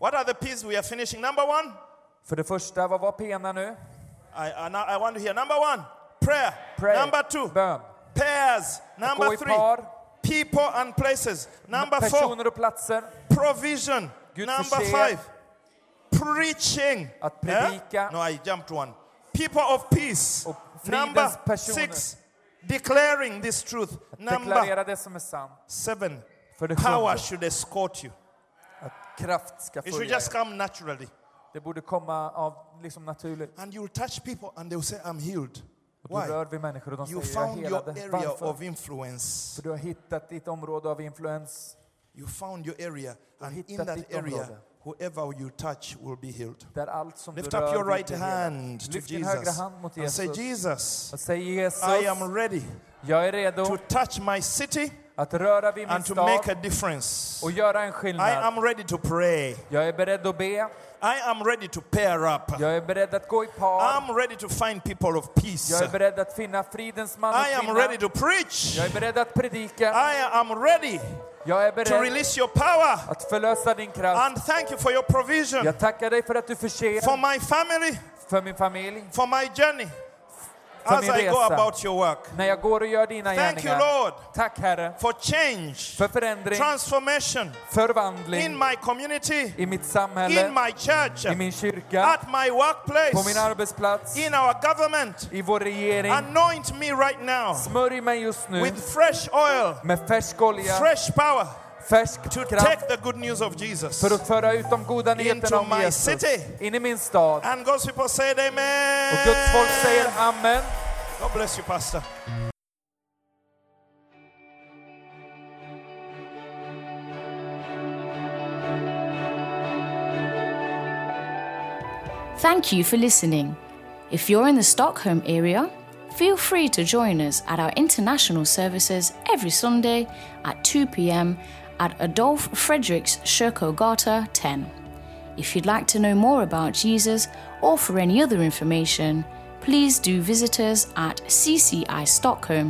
Speaker 1: what are the P's we are finishing? Number one,
Speaker 2: för det första, vad var pena nu?
Speaker 1: I, I, now- I want to hear. Number one, prayer.
Speaker 2: Prayer,
Speaker 1: Number two,
Speaker 2: bön.
Speaker 1: pairs.
Speaker 2: Gå
Speaker 1: Number
Speaker 2: i
Speaker 1: three,
Speaker 2: par,
Speaker 1: people and places. Number four,
Speaker 2: personer och platser,
Speaker 1: provision.
Speaker 2: Gud
Speaker 1: Number
Speaker 2: förser.
Speaker 1: five, preaching.
Speaker 2: Att
Speaker 1: Eh?
Speaker 2: predika.
Speaker 1: No, I jumped one. People of peace.
Speaker 2: Och fridens
Speaker 1: Number
Speaker 2: personer.
Speaker 1: six, declaring this truth. Number
Speaker 2: deklarera det som är sant.
Speaker 1: seven,
Speaker 2: För det
Speaker 1: power
Speaker 2: sjunde.
Speaker 1: should escort you.
Speaker 2: Att kraft ska
Speaker 1: It should
Speaker 2: följa
Speaker 1: just
Speaker 2: er.
Speaker 1: come naturally.
Speaker 2: Det borde komma av liksom naturligt.
Speaker 1: And you'll touch people and they'll say, I'm healed.
Speaker 2: Och du
Speaker 1: Why?
Speaker 2: rör vid människor och de
Speaker 1: You
Speaker 2: säger jag är
Speaker 1: found your
Speaker 2: helade.
Speaker 1: area
Speaker 2: Varför?
Speaker 1: of influence.
Speaker 2: För du har hittat ditt område av influens.
Speaker 1: You found your area,
Speaker 2: Du har
Speaker 1: and in
Speaker 2: hittat
Speaker 1: that
Speaker 2: ditt område.
Speaker 1: area, whoever you touch will be healed.
Speaker 2: Där allt som
Speaker 1: Lift
Speaker 2: du rör
Speaker 1: up your
Speaker 2: vid
Speaker 1: right
Speaker 2: blir helat.
Speaker 1: hand to
Speaker 2: Lyft din högra
Speaker 1: Jesus
Speaker 2: hand mot
Speaker 1: and say,
Speaker 2: Jesus.
Speaker 1: Jesus,
Speaker 2: Och säg Jesus,
Speaker 1: I am ready
Speaker 2: jag är
Speaker 1: to
Speaker 2: redo
Speaker 1: touch my city
Speaker 2: att röra vid min
Speaker 1: and to make a
Speaker 2: stad
Speaker 1: difference.
Speaker 2: och göra en
Speaker 1: I
Speaker 2: skillnad.
Speaker 1: am ready to pray.
Speaker 2: Jag är beredd att be.
Speaker 1: I am ready to pair up.
Speaker 2: Jag är beredd att gå i par.
Speaker 1: I'm ready to find people of peace.
Speaker 2: Jag är beredd att finna fridens man och
Speaker 1: I am ready to
Speaker 2: kvinna.
Speaker 1: preach.
Speaker 2: Jag är beredd att predika.
Speaker 1: I am ready
Speaker 2: Jag är
Speaker 1: to
Speaker 2: beredd
Speaker 1: release your power.
Speaker 2: att förlösa din kraft.
Speaker 1: And thank you for your provision,
Speaker 2: Jag tackar dig för att du förser
Speaker 1: for my family,
Speaker 2: för min familj,
Speaker 1: for my journey
Speaker 2: för
Speaker 1: as
Speaker 2: min
Speaker 1: I go
Speaker 2: resa.
Speaker 1: about your work.
Speaker 2: När jag går och gör dina
Speaker 1: Thank you,
Speaker 2: gärningar.
Speaker 1: Lord,
Speaker 2: Tack Herre
Speaker 1: for change,
Speaker 2: för förändring,
Speaker 1: transformation in
Speaker 2: förvandling
Speaker 1: my community,
Speaker 2: i mitt samhälle,
Speaker 1: in my church,
Speaker 2: i min kyrka,
Speaker 1: at my
Speaker 2: på min
Speaker 1: workplace,
Speaker 2: arbetsplats,
Speaker 1: in our government.
Speaker 2: i vår regering.
Speaker 1: Anoint me right now
Speaker 2: Smörj mig just nu
Speaker 1: with fresh oil,
Speaker 2: med färsk olja,
Speaker 1: fresh power
Speaker 2: färsk
Speaker 1: to
Speaker 2: kraft
Speaker 1: take the good news of Jesus.
Speaker 2: för att föra ut de goda nyheterna om
Speaker 1: my
Speaker 2: Jesus
Speaker 1: city.
Speaker 2: in i min stad.
Speaker 1: And God's people said,
Speaker 2: Och Guds folk säger
Speaker 1: Amen.
Speaker 2: Amen.
Speaker 1: God bless you, Pastor.
Speaker 3: Thank you for listening. If you're in the Stockholm area, feel free to join us at our international services every Sunday at 2 pm at Adolf Fredriks Kyrkogata 10. If you'd like to know more about Jesus or for any other information, please do visit us at ccistockholm.se.